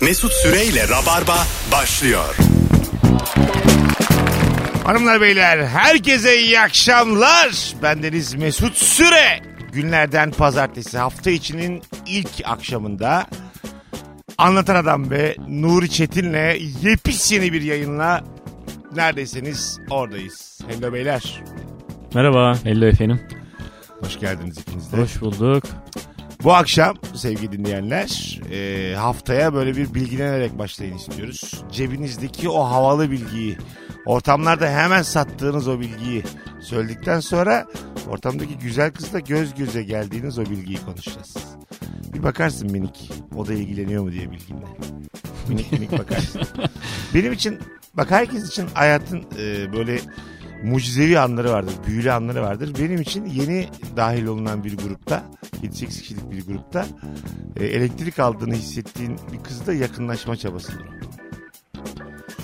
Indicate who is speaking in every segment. Speaker 1: Mesut Süreyle Rabarba başlıyor.
Speaker 2: Hanımlar beyler herkese iyi akşamlar. Bendeniz Mesut Süre. Günlerden pazartesi hafta içinin ilk akşamında Anlatan Adam ve Nuri Çetin'le yepyeni bir yayınla neredeyseniz oradayız. Hello beyler.
Speaker 3: Merhaba. Hello efendim.
Speaker 2: Hoş geldiniz ikiniz de.
Speaker 3: Hoş bulduk.
Speaker 2: Bu akşam sevgili dinleyenler e, haftaya böyle bir bilgilenerek başlayın istiyoruz. Cebinizdeki o havalı bilgiyi, ortamlarda hemen sattığınız o bilgiyi söyledikten sonra ortamdaki güzel kızla göz göze geldiğiniz o bilgiyi konuşacağız. Bir bakarsın minik o da ilgileniyor mu diye bilginle. Minik minik bakarsın. Benim için bak herkes için hayatın e, böyle mucizevi anları vardır, büyülü anları vardır. Benim için yeni dahil olunan bir grupta, 7-8 kişilik bir grupta e, elektrik aldığını hissettiğin bir kızla yakınlaşma çabasıdır. o.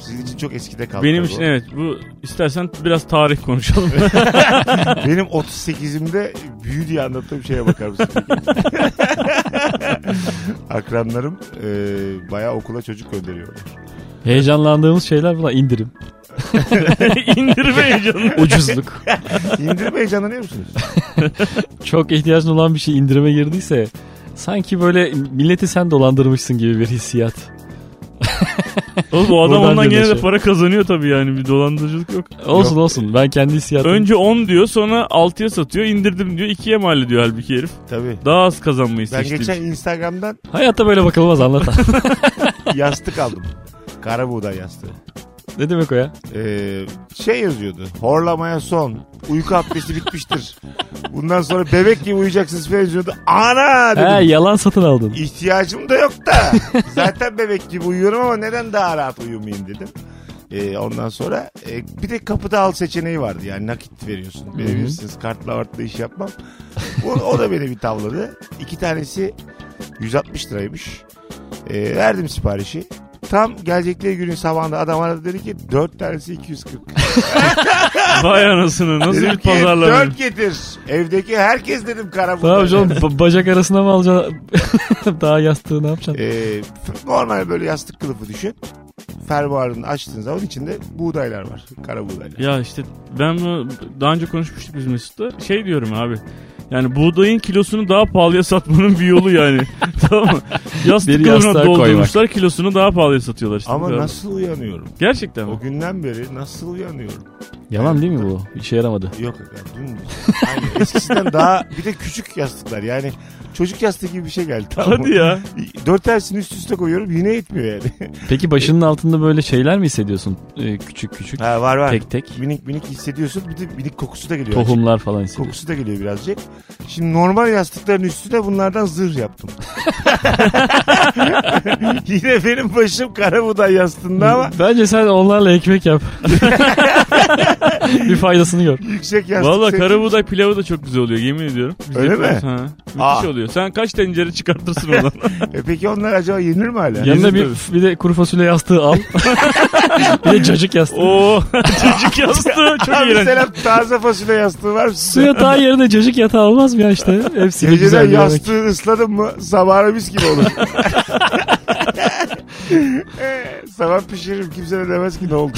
Speaker 2: Sizin için çok eskide kaldı.
Speaker 3: Benim
Speaker 2: tabii
Speaker 3: için
Speaker 2: o.
Speaker 3: evet bu istersen biraz tarih konuşalım.
Speaker 2: Benim 38'imde büyü diye anlattığım şeye bakar mısın? Akranlarım e, bayağı okula çocuk gönderiyorlar.
Speaker 4: Heyecanlandığımız şeyler bunlar indirim.
Speaker 3: İndirme canım.
Speaker 4: Ucuzluk.
Speaker 2: İndirme heyecanlanıyor musunuz?
Speaker 4: Çok ihtiyacın olan bir şey indirime girdiyse sanki böyle milleti sen dolandırmışsın gibi bir hissiyat.
Speaker 3: Oğlum o adam
Speaker 4: Buradan
Speaker 3: ondan gene de
Speaker 4: dönüşe.
Speaker 3: para kazanıyor tabii yani bir dolandırıcılık yok.
Speaker 4: Olsun olsun ben kendi hissiyatım.
Speaker 3: Önce 10 diyor sonra 6'ya satıyor indirdim diyor 2'ye mal ediyor halbuki herif.
Speaker 2: Tabii.
Speaker 3: Daha az kazanmayı
Speaker 2: Ben
Speaker 3: seçti.
Speaker 2: geçen Instagram'dan
Speaker 4: Hayatta böyle bakılmaz anlat.
Speaker 2: yastık aldım. Kara buğday yastığı.
Speaker 4: ne demek o ya?
Speaker 2: Ee, şey yazıyordu. Horlamaya son. Uyku abdesti bitmiştir. Bundan sonra bebek gibi uyuyacaksınız falan yazıyordu. Ana dedim.
Speaker 4: He yalan satın aldın.
Speaker 2: İhtiyacım da yok da. Zaten bebek gibi uyuyorum ama neden daha rahat uyumayayım dedim. Ee, ondan sonra e, bir de kapıda al seçeneği vardı. Yani nakit veriyorsun. Verebilirsiniz. Kartla vartla iş yapmam. O, o da beni bir tavladı. İki tanesi 160 liraymış. Ee, verdim siparişi. Tam gelecekleri günün sabahında adam aradı dedi ki dört tanesi 240.
Speaker 3: Vay anasını nasıl
Speaker 2: Dedim
Speaker 3: bir
Speaker 2: ki
Speaker 3: pazarlama.
Speaker 2: dört getir. Evdeki herkes dedim kara
Speaker 4: Tamam
Speaker 2: buğday.
Speaker 4: canım ba- bacak arasına mı alacaksın? Daha yastığı ne yapacaksın?
Speaker 2: Ee, f- normal böyle yastık kılıfı düşün. Fermuarını açtığın zaman içinde buğdaylar var. Kara buğdaylar.
Speaker 3: Ya işte ben bunu daha önce konuşmuştuk biz Mesut'la. Şey diyorum abi. Yani buğdayın kilosunu daha pahalıya satmanın bir yolu yani. tamam mı? Yastık
Speaker 4: Bir
Speaker 3: kılığına
Speaker 4: yastığa
Speaker 3: doldurmuşlar kilosunu daha pahalıya satıyorlar işte.
Speaker 2: Ama
Speaker 3: Tamam.
Speaker 2: nasıl uyanıyorum?
Speaker 3: Gerçekten mi?
Speaker 2: O günden beri nasıl uyanıyorum?
Speaker 4: Yalan değil mi bu? İşe yaramadı.
Speaker 2: Yok aga dün Aynen, eskisinden daha bir de küçük yastıklar yani çocuk yastığı gibi bir şey geldi. Tamam mı?
Speaker 3: Hadi ya.
Speaker 2: Dört tersini üst üste koyuyorum yine etmiyor yani.
Speaker 4: Peki başının altında böyle şeyler mi hissediyorsun? Ee, küçük küçük.
Speaker 2: ha, var var.
Speaker 4: Tek tek.
Speaker 2: Minik minik hissediyorsun bir de minik kokusu da geliyor.
Speaker 4: Tohumlar falan hissediyorsun.
Speaker 2: Kokusu da geliyor birazcık. Şimdi normal yastıkların üstüne bunlardan zırh yaptım. Yine benim başım kara buğday yastığında ama
Speaker 4: Bence sen onlarla ekmek yap. bir faydasını gör.
Speaker 2: yüksek yastık.
Speaker 3: Valla
Speaker 2: seçim.
Speaker 3: kara buğday pilavı da çok güzel oluyor yemin ediyorum. Biz
Speaker 2: Öyle
Speaker 3: yapıyoruz,
Speaker 2: mi?
Speaker 3: Ha. Müthiş
Speaker 2: Aa.
Speaker 3: oluyor. Sen kaç tencere çıkartırsın ondan?
Speaker 2: E peki onlar acaba yenir mi hala?
Speaker 4: Yanına bir,
Speaker 3: Yüzde
Speaker 4: bir de kuru fasulye yastığı al. bir de cacık yastığı.
Speaker 3: Oo çocuk yastığı çok
Speaker 2: Abi
Speaker 3: iğrenç.
Speaker 2: selam taze fasulye yastığı var mı? sizde?
Speaker 4: Su yatağı yerine cacık yatağı olmaz mı ya işte? Hepsi
Speaker 2: Geceden
Speaker 4: güzel bir yemek.
Speaker 2: yastığı ısladın mı sabahına mis gibi olur. E, Sabah pişiririm kimse de demez ki ne oldu.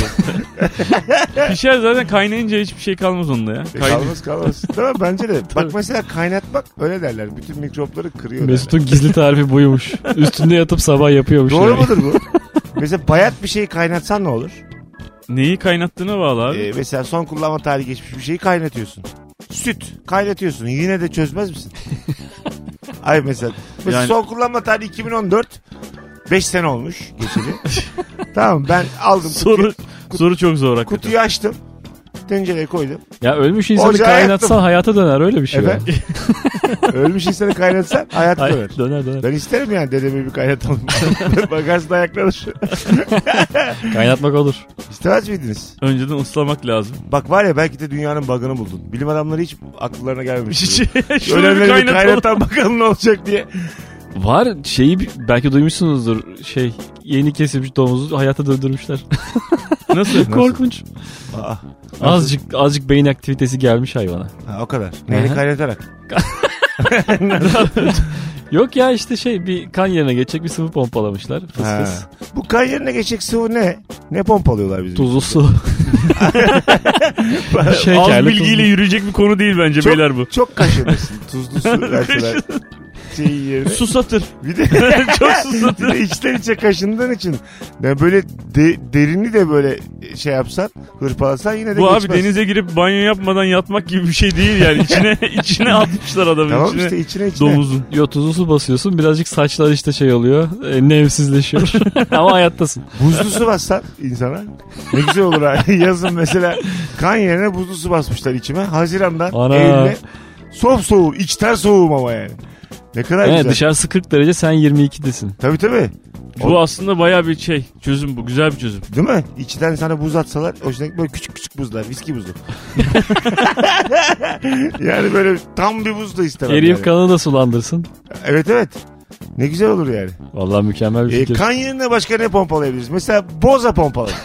Speaker 3: Pişer zaten kaynayınca hiçbir şey kalmaz onda ya.
Speaker 2: E,
Speaker 3: Kaynıyor.
Speaker 2: kalmaz kalmaz. Değil mi? Bence de. Bak mesela kaynatmak öyle derler. Bütün mikropları kırıyor. derler.
Speaker 4: Mesut'un gizli tarifi buymuş. Üstünde yatıp sabah yapıyormuş.
Speaker 2: Doğru
Speaker 4: yani.
Speaker 2: mudur bu? mesela bayat bir şeyi kaynatsan ne olur?
Speaker 3: Neyi kaynattığına bağlı abi.
Speaker 2: Ee, mesela son kullanma tarihi geçmiş bir şeyi kaynatıyorsun. Süt kaynatıyorsun. Yine de çözmez misin? Ay mesela, mesela
Speaker 3: Yani-
Speaker 2: son kullanma tarihi 2014. 5 sene olmuş geçeli. tamam ben aldım
Speaker 3: soru
Speaker 2: kutuyu,
Speaker 3: soru çok zor hakikaten.
Speaker 2: kutuyu açtım. Tencereye koydum.
Speaker 4: Ya ölmüş insanı
Speaker 2: Ocağa
Speaker 4: kaynatsan
Speaker 2: yaktım.
Speaker 4: hayata döner öyle bir şey. ya.
Speaker 2: Efendim? Ölmüş insanı kaynatsan hayat
Speaker 4: Ay,
Speaker 2: döner.
Speaker 4: döner döner.
Speaker 2: Ben isterim yani dedemi bir kaynatalım. Bakarsın ayaklanır.
Speaker 4: Kaynatmak olur.
Speaker 2: İstemez miydiniz?
Speaker 3: Önceden ıslamak lazım.
Speaker 2: Bak var ya belki de dünyanın bug'ını buldun. Bilim adamları hiç akıllarına gelmemiş.
Speaker 3: Şöyle bir
Speaker 2: Ölenleri bir
Speaker 3: kaynatalım.
Speaker 2: kaynatalım bakalım ne olacak diye.
Speaker 4: Var şeyi bi- belki duymuşsunuzdur. Şey yeni kesilmiş domuzu hayata döndürmüşler.
Speaker 3: Nasıl?
Speaker 4: Korkunç.
Speaker 2: Aa,
Speaker 4: Azıcık azıcık beyin aktivitesi gelmiş hayvana.
Speaker 2: ha, o kadar. Neyle
Speaker 4: Aha.
Speaker 2: kaynatarak?
Speaker 4: Yok ya işte şey bir kan yerine geçecek bir sıvı pompalamışlar. Fıs
Speaker 2: Ha.
Speaker 4: fıs.
Speaker 2: Bu kan yerine geçecek sıvı ne? Ne pompalıyorlar bizim?
Speaker 4: Tuzlu su.
Speaker 3: Az
Speaker 4: Şekerli
Speaker 3: bilgiyle
Speaker 4: Şey tuzlu.
Speaker 3: yürüyecek bir konu değil
Speaker 2: Şey
Speaker 3: bence
Speaker 2: Çok-
Speaker 3: beyler bu.
Speaker 2: Çok kaşınırsın. Tuzlu su verseler. Şeyin yerine.
Speaker 3: Susatır.
Speaker 2: Bir de,
Speaker 3: Çok susatır.
Speaker 2: bir de içten içe kaşındığın için. Yani böyle de- derini de böyle şey yapsan, hırpalasan yine de
Speaker 3: Bu abi
Speaker 2: geçmez.
Speaker 3: denize girip banyo yapmadan yatmak gibi bir şey değil yani. İçine içine atmışlar adamın
Speaker 2: Tamam
Speaker 3: içine.
Speaker 2: işte içine içine.
Speaker 3: Domuzun.
Speaker 4: Yo tuzlu su basıyorsun birazcık saçlar işte şey oluyor. E, nevsizleşiyor. Ama hayattasın.
Speaker 2: Buzlu su bassan insana. Ne güzel olur abi. Yazın mesela kan yerine buzlu su basmışlar içime. Haziran'dan
Speaker 4: Ana.
Speaker 2: Eylül'e. Sof soğuğu. içten soğuğum ama yani. Ne kadar
Speaker 4: Evet,
Speaker 2: güzel.
Speaker 4: dışarısı 40 derece sen 22'desin.
Speaker 2: Tabii tabii.
Speaker 3: Bu aslında baya bir şey. Çözüm bu. Güzel bir çözüm.
Speaker 2: Değil mi? İçten sana buz atsalar hoşuna gitmiyor. Böyle küçük küçük buzlar. Viski buzu. yani böyle tam bir buz da istemem.
Speaker 4: Eriyip
Speaker 2: yani.
Speaker 4: kanını da sulandırsın.
Speaker 2: Evet evet. Ne güzel olur yani.
Speaker 4: Vallahi mükemmel bir
Speaker 2: E,
Speaker 4: fikir.
Speaker 2: kan yerine başka ne pompalayabiliriz? Mesela boza pompalayın.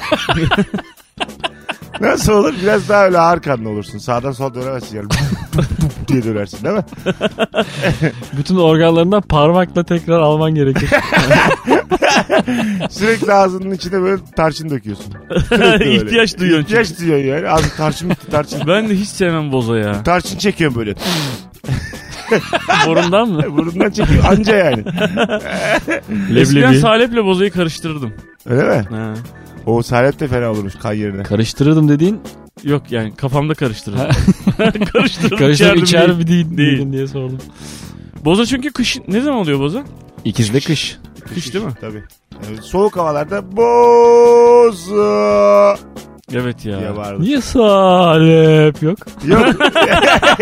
Speaker 2: Nasıl olur? Biraz daha öyle ağır kanlı olursun. Sağdan sola dönemezsin yani. diye dönersin değil mi?
Speaker 4: Bütün organlarından parmakla tekrar alman gerekir.
Speaker 2: Sürekli ağzının içine böyle tarçın döküyorsun. Sürekli böyle.
Speaker 3: İhtiyaç duyuyorsun
Speaker 2: İhtiyaç duyuyorsun yani. Abi tarçın bitti tarçın.
Speaker 3: Ben de hiç sevmem boza ya.
Speaker 2: Tarçın çekiyorum böyle.
Speaker 4: Borundan mı?
Speaker 2: Burundan çekiyor anca yani.
Speaker 3: Eskiden
Speaker 4: Leblebi.
Speaker 3: saleple bozayı karıştırırdım.
Speaker 2: Öyle mi?
Speaker 3: Ha.
Speaker 2: O salep de fena olurmuş kan yerine.
Speaker 4: Karıştırırdım dediğin
Speaker 3: Yok yani kafamda karıştırırdım. karıştırırdım.
Speaker 4: karıştır
Speaker 3: içerdim
Speaker 4: içer
Speaker 3: değil.
Speaker 4: mi değil,
Speaker 3: Değil.
Speaker 4: miydin diye sordum.
Speaker 3: Boza çünkü kış ne zaman oluyor boza?
Speaker 4: İkizde kış.
Speaker 3: Kış değil mi?
Speaker 2: Tabii. Yani soğuk havalarda boza
Speaker 3: Evet ya.
Speaker 2: diye bağırdı.
Speaker 4: Niye salep yok?
Speaker 2: Yok.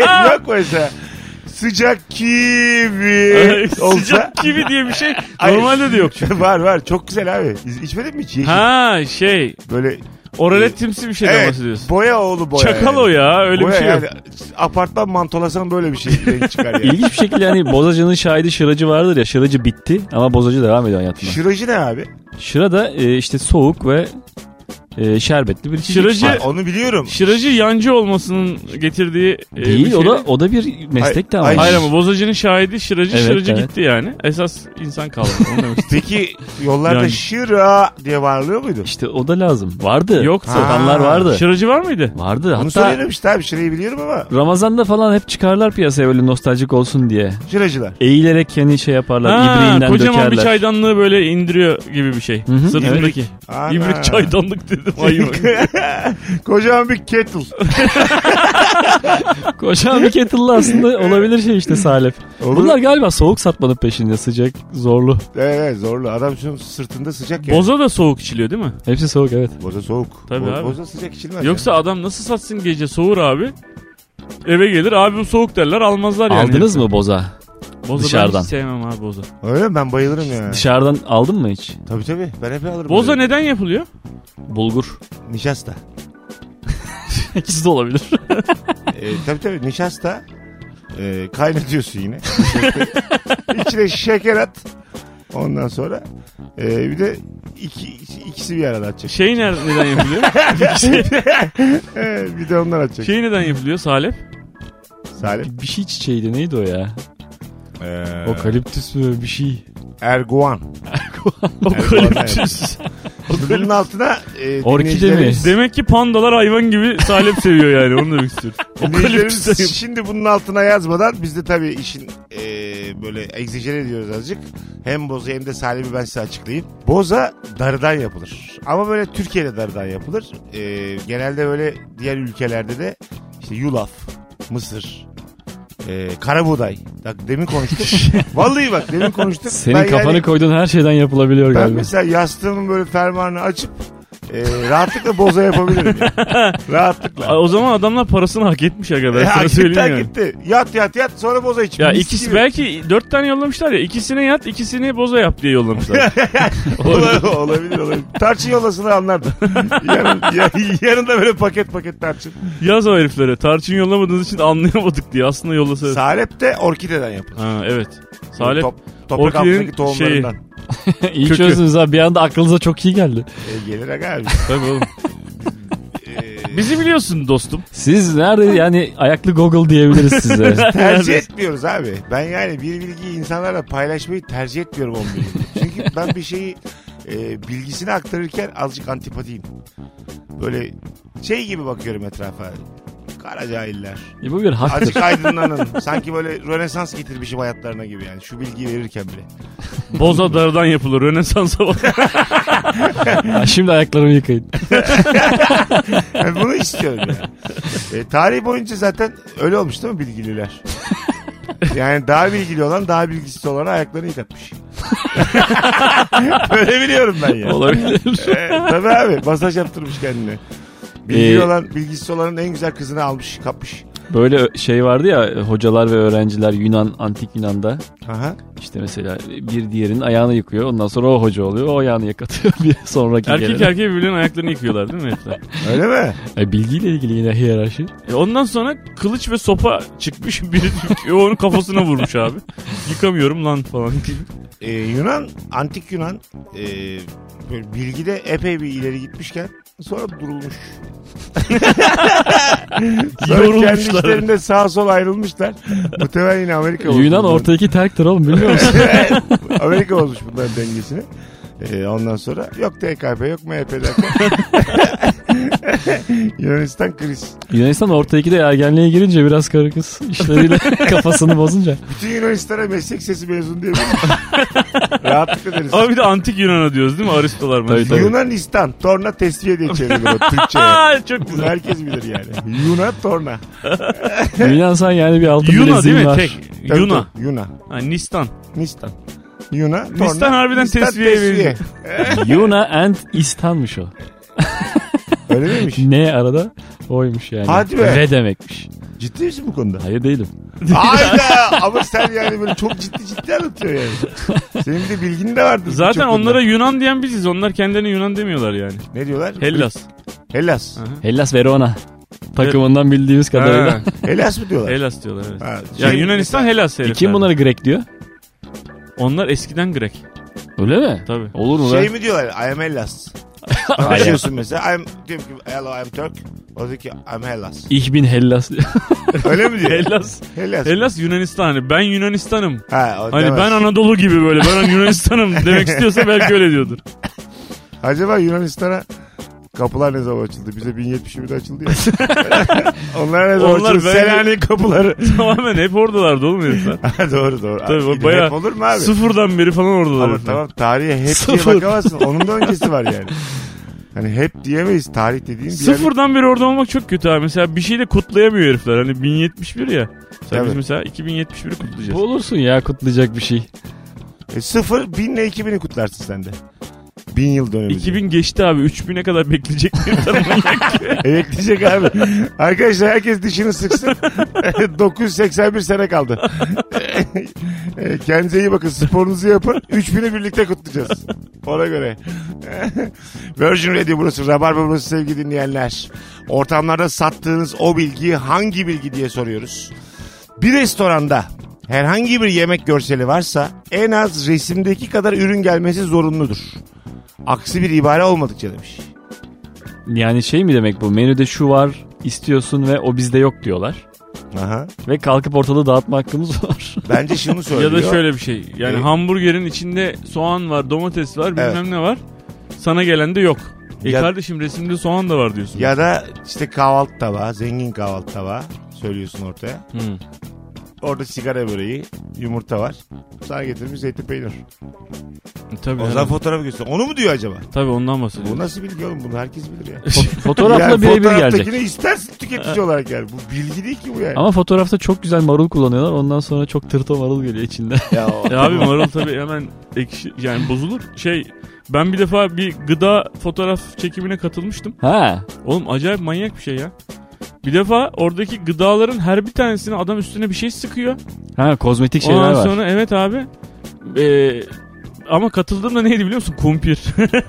Speaker 2: Yok mesela. Sıcak kivi olsa.
Speaker 3: Sıcak kivi diye bir şey
Speaker 2: Ay.
Speaker 3: normalde de yok çünkü.
Speaker 2: var var çok güzel abi. İz- İçmedin mi hiç? Yeşil.
Speaker 3: Ha şey
Speaker 2: Böyle
Speaker 3: oraletimsi bir şeyden
Speaker 2: evet,
Speaker 3: bahsediyorsun.
Speaker 2: boya oğlu boya.
Speaker 3: Çakal
Speaker 2: yani.
Speaker 3: o ya öyle
Speaker 2: boya
Speaker 3: bir şey yok.
Speaker 2: yani. Apartman mantolasan böyle bir şey renk çıkar yani.
Speaker 4: İlginç bir şekilde hani bozacının şahidi şıracı vardır ya. Şıracı bitti ama bozacı devam ediyor hayatına.
Speaker 2: Şıracı ne abi?
Speaker 4: Şıra da e, işte soğuk ve e, şerbetli bir içecek.
Speaker 3: Şıracı-
Speaker 2: Ha,
Speaker 4: Ay,
Speaker 2: onu biliyorum.
Speaker 3: Şıracı yancı olmasının getirdiği e, bir
Speaker 4: Değil o
Speaker 3: şey
Speaker 4: da o da bir meslek de ama.
Speaker 2: Ay-
Speaker 3: Hayır ama bozacının şahidi şıracı
Speaker 4: Evet,
Speaker 3: şıracı
Speaker 4: evet.
Speaker 3: gitti yani. Esas insan kaldı. Onu demiştim.
Speaker 2: Peki yollarda
Speaker 3: Yani.
Speaker 2: şıra diye bağırılıyor muydu?
Speaker 4: İşte o da lazım. Vardı.
Speaker 3: Yoktu.
Speaker 4: Satanlar vardı.
Speaker 3: şıracı var mıydı?
Speaker 4: Vardı.
Speaker 2: Onu
Speaker 4: Hatta
Speaker 2: söylerim işte abi şırayı biliyorum ama
Speaker 4: Ramazan'da falan hep çıkarlar piyasaya böyle nostaljik olsun diye.
Speaker 2: şıracılar.
Speaker 4: Eğilerek yani şey yaparlar.
Speaker 3: Ha,
Speaker 4: ibriğinden
Speaker 3: kocaman
Speaker 4: dökerler.
Speaker 3: bir çaydanlığı böyle indiriyor gibi bir şey.
Speaker 4: hı,
Speaker 3: Sırtındaki.
Speaker 2: Ana.
Speaker 3: İbrik çaydanlık dedim. Ay yok.
Speaker 2: Kocaman bir kettle.
Speaker 4: Kocaman bir kettle'lı aslında olabilir şey işte salep.
Speaker 2: Olur.
Speaker 4: Bunlar galiba soğuk satmanın peşinde sıcak zorlu.
Speaker 2: Evet, evet, zorlu. Adam şu sırtında sıcak ya.
Speaker 3: Boza da soğuk içiliyor değil mi?
Speaker 4: Hepsi soğuk evet.
Speaker 2: Boza soğuk.
Speaker 3: Tabii
Speaker 2: Bo-
Speaker 3: abi.
Speaker 2: Boza sıcak içilmez.
Speaker 3: Yoksa adam nasıl satsın gece soğur abi. Eve gelir abi bu soğuk derler almazlar yani.
Speaker 4: Aldınız mı boza?
Speaker 3: Boza ben
Speaker 4: dışarıdan?
Speaker 3: hiç sevmem abi boza.
Speaker 2: ya. Öyle mi? Ben bayılırım ya.
Speaker 4: Dışarıdan aldın mı hiç?
Speaker 2: Tabii tabii. Ben hep alırım.
Speaker 3: Boza
Speaker 2: Böyle.
Speaker 3: neden yapılıyor?
Speaker 4: Bulgur.
Speaker 2: Nişasta.
Speaker 4: İkisi de olabilir.
Speaker 2: Ee, tabii tabii nişasta. Ee, kaynatıyorsun yine. İçine şeker at. Ondan sonra ee, bir de iki, ikisi bir arada atacak.
Speaker 3: Şey ner- neden yapılıyor?
Speaker 2: Ee, bir de onlar atacak.
Speaker 3: şey neden yapılıyor Salep?
Speaker 2: Salim.
Speaker 4: bir şey çiçeğiydi neydi o ya?
Speaker 2: Ee,
Speaker 4: Okaliptüs mü bir şey?
Speaker 2: Erguvan.
Speaker 3: Okaliptüs.
Speaker 2: Şimdi Bunun altına e,
Speaker 4: Orkide
Speaker 2: dinleyicilerimiz-
Speaker 4: mi?
Speaker 3: Demek ki pandalar hayvan gibi Salep seviyor yani onu demek istiyorum.
Speaker 2: Dinleyicilerimiz
Speaker 3: Okaliptüs.
Speaker 2: Şimdi bunun altına yazmadan biz de tabii işin e, böyle egzajere ediyoruz azıcık. Hem boza hem de salebi ben size açıklayayım. Boza darıdan yapılır. Ama böyle Türkiye'de darıdan yapılır. E, genelde böyle diğer ülkelerde de işte yulaf, mısır, e, karabuğday. Bak demin konuştuk. Vallahi bak demin konuştuk.
Speaker 4: Senin
Speaker 2: Ben
Speaker 4: kafanı
Speaker 2: yani-
Speaker 4: koyduğun her şeyden yapılabiliyor
Speaker 2: Ben
Speaker 4: galiba.
Speaker 2: mesela yastığımın böyle fermuarını açıp e, rahatlıkla boza yapabilirim. yani. rahatlıkla.
Speaker 3: Aa, O zaman adamlar parasını hak etmiş aga ben
Speaker 2: Ya
Speaker 3: sana
Speaker 2: gitti,
Speaker 3: söyleyeyim
Speaker 2: ha
Speaker 3: yani.
Speaker 2: gitti. Yat yat yat sonra boza iç.
Speaker 3: Ya
Speaker 2: Mis
Speaker 3: ikisi
Speaker 2: gibi.
Speaker 3: belki dört tane yollamışlar ya ikisine yat ikisini boza yap diye yollamışlar.
Speaker 2: Ola- olabilir olabilir. Tarçın yollasını anlardım. Yarın, ya, yanında böyle paket paket tarçın.
Speaker 3: Yaz o heriflere tarçın yollamadığınız için anlayamadık diye aslında yollasa.
Speaker 2: Salep de orkideden yapılır.
Speaker 3: Ha evet. Salep
Speaker 2: Top- toprak
Speaker 3: orkidenin
Speaker 2: altındaki tohumlarından.
Speaker 4: iyi
Speaker 3: kökü. şey-
Speaker 4: çözdünüz ha bir anda aklınıza çok iyi geldi.
Speaker 2: E, gelir aga abi.
Speaker 3: tabii oğlum.
Speaker 2: E,
Speaker 3: Bizi biliyorsun dostum.
Speaker 4: Siz nerede yani ayaklı Google diyebiliriz size.
Speaker 2: tercih etmiyoruz abi. Ben yani bir bilgiyi insanlarla paylaşmayı tercih etmiyorum onu bilgiyi. Çünkü ben bir şeyi e, bilgisini aktarırken azıcık antipatiyim. Böyle şey gibi bakıyorum etrafa. Kara cahiller.
Speaker 4: E, bu bir haktır.
Speaker 2: Azıcık aydınlanın. Sanki böyle rönesans getirmişim hayatlarına gibi yani. Şu bilgiyi verirken bile.
Speaker 3: Boza darıdan yapılır. Rönesans'a bak.
Speaker 4: Ha, şimdi ayaklarımı yıkayın.
Speaker 2: Ben bunu istiyorum yani. E, tarih boyunca zaten öyle olmuş değil mi bilgililer? Yani daha bilgili olan daha bilgisiz olana ayaklarını yıkatmış. Böyle biliyorum ben ya.
Speaker 4: Olabilir.
Speaker 2: E, tabii abi masaj yaptırmış kendine. Bilgili
Speaker 4: Ee,
Speaker 2: olan bilgisiz olanın en güzel kızını almış kapmış.
Speaker 4: Böyle ö- şey vardı ya hocalar ve öğrenciler Yunan antik Yunan'da
Speaker 2: Aha.
Speaker 4: işte mesela bir diğerinin ayağını yıkıyor ondan sonra o hoca oluyor o ayağını yıkatıyor bir sonraki
Speaker 3: Erkek
Speaker 4: gelene.
Speaker 3: erkeğe birbirlerinin ayaklarını yıkıyorlar değil mi herifler?
Speaker 2: Öyle mi?
Speaker 4: E, bilgiyle ilgili yine hiyerarşi.
Speaker 3: E ondan sonra kılıç ve sopa çıkmış. Biri diyor, onun kafasına vurmuş abi. Yıkamıyorum lan falan.
Speaker 2: E, Yunan, antik Yunan e, böyle bilgide epey bir ileri gitmişken sonra durulmuş. Sonra kendi
Speaker 3: Yorulmuşlar.
Speaker 2: işlerinde sağa sola ayrılmışlar. Muhtemelen yine Amerika olmuş.
Speaker 4: Yunan
Speaker 2: bunların.
Speaker 4: ortadaki terktir oğlum biliyor musun?
Speaker 2: Amerika olmuş bunların dengesini. E, ondan sonra yok TKP yok MHP derken. Yunanistan kriz.
Speaker 4: Yunanistan ortadaki de ergenliğe girince biraz karı kız işleriyle kafasını bozunca.
Speaker 2: Bütün Yunanistan'a meslek sesi mezun diye Rahatlık ederiz.
Speaker 3: Ama bir de antik Yunan'a diyoruz değil mi? Aristolar mı?
Speaker 4: Tabii, tabii.
Speaker 2: Yunanistan torna tesviye diye çevirilir o Türkçe'ye.
Speaker 3: Aa, çok
Speaker 2: Bunu
Speaker 3: güzel.
Speaker 2: herkes bilir yani. Yuna torna.
Speaker 4: Yunan sen yani bir altın
Speaker 3: Yuna değil mi?
Speaker 4: bileziğin var.
Speaker 3: Tek.
Speaker 2: Tabii,
Speaker 3: Yuna.
Speaker 2: tabii, Yuna.
Speaker 3: Ha, Nistan.
Speaker 2: Nistan. Yuna torna.
Speaker 3: Nistan harbiden tesviyeye benziyor.
Speaker 4: Yuna and İstan'mış o.
Speaker 2: Öyle miymiş?
Speaker 4: Ne arada? Oymuş yani.
Speaker 2: Hadi be.
Speaker 4: Ve demekmiş.
Speaker 2: Ciddi misin bu konuda?
Speaker 4: Hayır değilim.
Speaker 2: Hayda ama sen yani böyle çok ciddi ciddi anlatıyor yani. Senin bir de bilgin de vardı.
Speaker 3: Zaten onlara Yunan diyen biziz. Onlar kendilerine Yunan demiyorlar yani.
Speaker 2: Ne diyorlar?
Speaker 3: Hellas.
Speaker 2: Hellas.
Speaker 4: Hellas Verona takımından bildiğimiz kadarıyla.
Speaker 3: Ha,
Speaker 2: Hellas mı diyorlar?
Speaker 3: Hellas diyorlar evet.
Speaker 2: Ha,
Speaker 3: Ya
Speaker 2: şey-
Speaker 3: Yunanistan Hellas herifler.
Speaker 4: E, Kim bunları Grek diyor?
Speaker 3: Onlar eskiden Grek.
Speaker 4: Öyle mi?
Speaker 3: Tabii.
Speaker 4: Olur mu
Speaker 2: Şey
Speaker 4: lan?
Speaker 2: mi diyorlar? I am Hellas. Konuşuyorsun mesela. I'm, diyorum ki hello I'm Turk. O diyor ki I'm Hellas.
Speaker 4: Ich bin Hellas.
Speaker 2: Öyle mi diyor?
Speaker 3: Hellas.
Speaker 2: Hellas.
Speaker 3: Hellas Yunanistan. Hani ben Yunanistan'ım.
Speaker 2: Ha, o
Speaker 3: Hani
Speaker 2: demez.
Speaker 3: ben Anadolu gibi böyle ben Yunanistan'ım demek istiyorsa belki öyle diyordur.
Speaker 2: Acaba Yunanistan'a kapılar ne zaman açıldı? Bize 1071'de açıldı ya. Onlar ne zaman
Speaker 3: Onlar
Speaker 2: açıldı?
Speaker 3: bence-
Speaker 2: Selanik kapıları.
Speaker 3: Tamamen hep oradalardı oğlum herifler.
Speaker 2: Ha, doğru doğru.
Speaker 3: Tabii
Speaker 2: Abi,
Speaker 3: o bayağı
Speaker 2: Hep olur mu abi?
Speaker 3: Sıfırdan beri falan oradalar.
Speaker 2: Ama
Speaker 3: herifler.
Speaker 2: tamam tarihe hep diye
Speaker 4: Sıfır.
Speaker 2: bakamazsın. Onun da öncesi var yani. Hani hep diyemeyiz. Tarih dediğin bir yer-
Speaker 3: Sıfırdan beri orada olmak çok kötü abi. Mesela bir şeyi de kutlayamıyor herifler. Hani 1071 ya. Mesela
Speaker 2: Tabii.
Speaker 3: biz mesela 2071'i kutlayacağız.
Speaker 4: Bulursun ya kutlayacak bir şey.
Speaker 2: E, sıfır, binle iki bini kutlarsın sen de. Bin yıl dönemi.
Speaker 3: 2000 geçti abi. 3000'e kadar bekleyecek bir
Speaker 2: Ekleyecek abi. Arkadaşlar herkes dişini sıksın. 981 sene kaldı. E, Kendinize iyi bakın. Sporunuzu yapın. 3000'i birlikte kutlayacağız. Ona göre. Virgin Radio burası. Rabarba burası sevgili dinleyenler. Ortamlarda sattığınız o bilgi hangi bilgi diye soruyoruz. Bir restoranda herhangi bir yemek görseli varsa en az resimdeki kadar ürün gelmesi zorunludur. Aksi bir ibare olmadıkça demiş.
Speaker 4: Yani şey mi demek bu? Menüde şu var istiyorsun ve o bizde yok diyorlar.
Speaker 2: Aha.
Speaker 4: Ve kalkıp ortalığı dağıtma hakkımız var.
Speaker 2: Bence şunu
Speaker 3: ya
Speaker 2: söylüyor.
Speaker 3: da şöyle bir şey. Yani
Speaker 2: Ee,
Speaker 3: hamburgerin içinde soğan var, domates var, bilmem
Speaker 2: Evet.
Speaker 3: ne var. Sana gelen de yok. E
Speaker 2: Ya-
Speaker 3: kardeşim resimde soğan da var diyorsun.
Speaker 2: Ya da işte kahvaltı tabağı, zengin kahvaltı tabağı söylüyorsun ortaya.
Speaker 3: Hı.
Speaker 2: Orada sigara böreği, yumurta var. Sana getirmiş zeytin peynir.
Speaker 3: E, Tabii.
Speaker 2: O zaman
Speaker 3: herhalde.
Speaker 2: fotoğrafı göster. Onu mu diyor acaba?
Speaker 3: Tabii ondan
Speaker 2: Bu
Speaker 3: bahsediyorum.
Speaker 2: nasıl bilgi oğlum? Bunu herkes bilir ya.
Speaker 4: Fotoğrafla
Speaker 2: Yani
Speaker 4: birebir
Speaker 2: fotoğraftakini
Speaker 4: gelecek.
Speaker 2: istersin tüketici olarak yani. Bu bilgi değil ki bu yani.
Speaker 4: Ama fotoğrafta çok güzel marul kullanıyorlar. Ondan sonra çok tırto marul geliyor içinde.
Speaker 2: Ya o-
Speaker 3: E abi marul tabii hemen ekşi yani bozulur. Şey ben bir defa bir gıda fotoğraf çekimine katılmıştım.
Speaker 4: ha.
Speaker 3: Oğlum acayip manyak bir şey ya. Bir defa oradaki gıdaların her bir tanesini adam üstüne bir şey sıkıyor.
Speaker 4: Ha kozmetik şeyler
Speaker 3: Ondan
Speaker 4: var.
Speaker 3: sonra evet abi. Ee, ama katıldığımda neydi biliyor musun? Kumpir.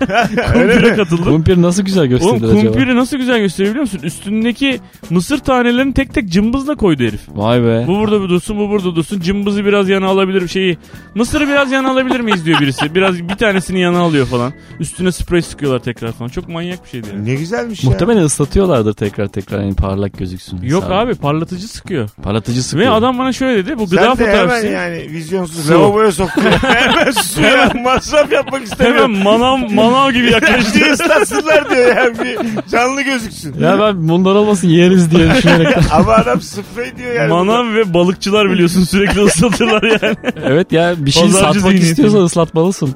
Speaker 2: Öyle
Speaker 3: Kumpir'e katıldım.
Speaker 4: Kumpir nasıl güzel
Speaker 3: Oğlum
Speaker 4: gösterdi acaba?
Speaker 3: kumpiri nasıl güzel gösteriyor biliyor musun? Üstündeki mısır tanelerini tek tek cımbızla koydu herif.
Speaker 4: Vay be.
Speaker 3: Bu burada bir dursun, bu burada dursun. Cımbızı biraz yana alabilir şeyi. Mısırı biraz yana alabilir miyiz diyor birisi. Biraz bir tanesini yana alıyor falan. Üstüne sprey sıkıyorlar tekrar falan. Çok manyak bir şeydi yani.
Speaker 2: Ne güzelmiş ya.
Speaker 4: Muhtemelen ıslatıyorlardır tekrar tekrar yani parlak gözüksün.
Speaker 3: Yok
Speaker 4: Hmm. Sağ ol.
Speaker 3: abi parlatıcı sıkıyor.
Speaker 4: Parlatıcı
Speaker 3: Ve
Speaker 4: sıkıyor.
Speaker 3: adam bana şöyle dedi. Bu
Speaker 2: Sen
Speaker 3: gıda
Speaker 2: de hemen
Speaker 3: fotoğrafçısı.
Speaker 2: yani vizyonsuz
Speaker 4: Su.
Speaker 2: lavaboya soktun. hemen suya masraf yapmak
Speaker 3: Hemen
Speaker 2: istemiyorum.
Speaker 3: manav, manav gibi yaklaştı.
Speaker 2: Diye ıslatsınlar diyor ya. Bir canlı gözüksün.
Speaker 4: Ya ben bunlar olmasın yeriz diye düşünerek.
Speaker 2: Ama adam sprey diyor yani.
Speaker 3: Manav ve balıkçılar biliyorsun sürekli ıslatırlar yani.
Speaker 4: evet ya bir şey
Speaker 3: Pazarcı
Speaker 4: satmak
Speaker 3: zihniyeti.
Speaker 4: istiyorsan ıslatmalısın.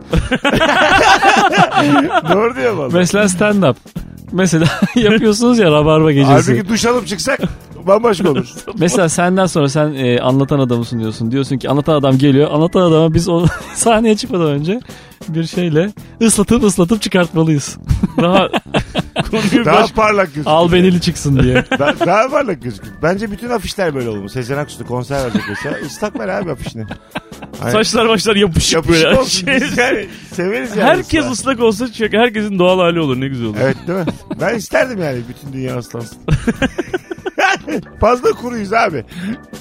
Speaker 2: Doğru diyor valla.
Speaker 4: Mesela stand up. Mesela yapıyorsunuz ya rabarba gecesi.
Speaker 2: Halbuki duş alıp çıksak bambaşka olur.
Speaker 4: Mesela senden sonra sen e, anlatan adamısın diyorsun. Diyorsun ki anlatan adam geliyor. Anlatan adama biz o sahneye çıkmadan önce bir şeyle ıslatıp ıslatıp çıkartmalıyız.
Speaker 3: Daha konuyu
Speaker 2: Daha
Speaker 3: baş...
Speaker 2: parlak gözükür.
Speaker 4: Al benili çıksın diye.
Speaker 2: Da- daha parlak gözükür. Bence bütün afişler böyle olmalı. Sezen Aksu'da konser verecek mesela. Islak ver abi afişini.
Speaker 3: Saçlar başlar yapışık,
Speaker 2: Yapışık
Speaker 3: böyle.
Speaker 2: olsun.
Speaker 3: Şey-
Speaker 2: Biz yani severiz yani.
Speaker 3: herkes
Speaker 2: ıslak.
Speaker 3: ıslak olsa çünkü herkesin doğal hali olur ne güzel olur.
Speaker 2: Evet değil mi? Ben isterdim yani bütün dünya ıslansın. Fazla kuruyuz abi.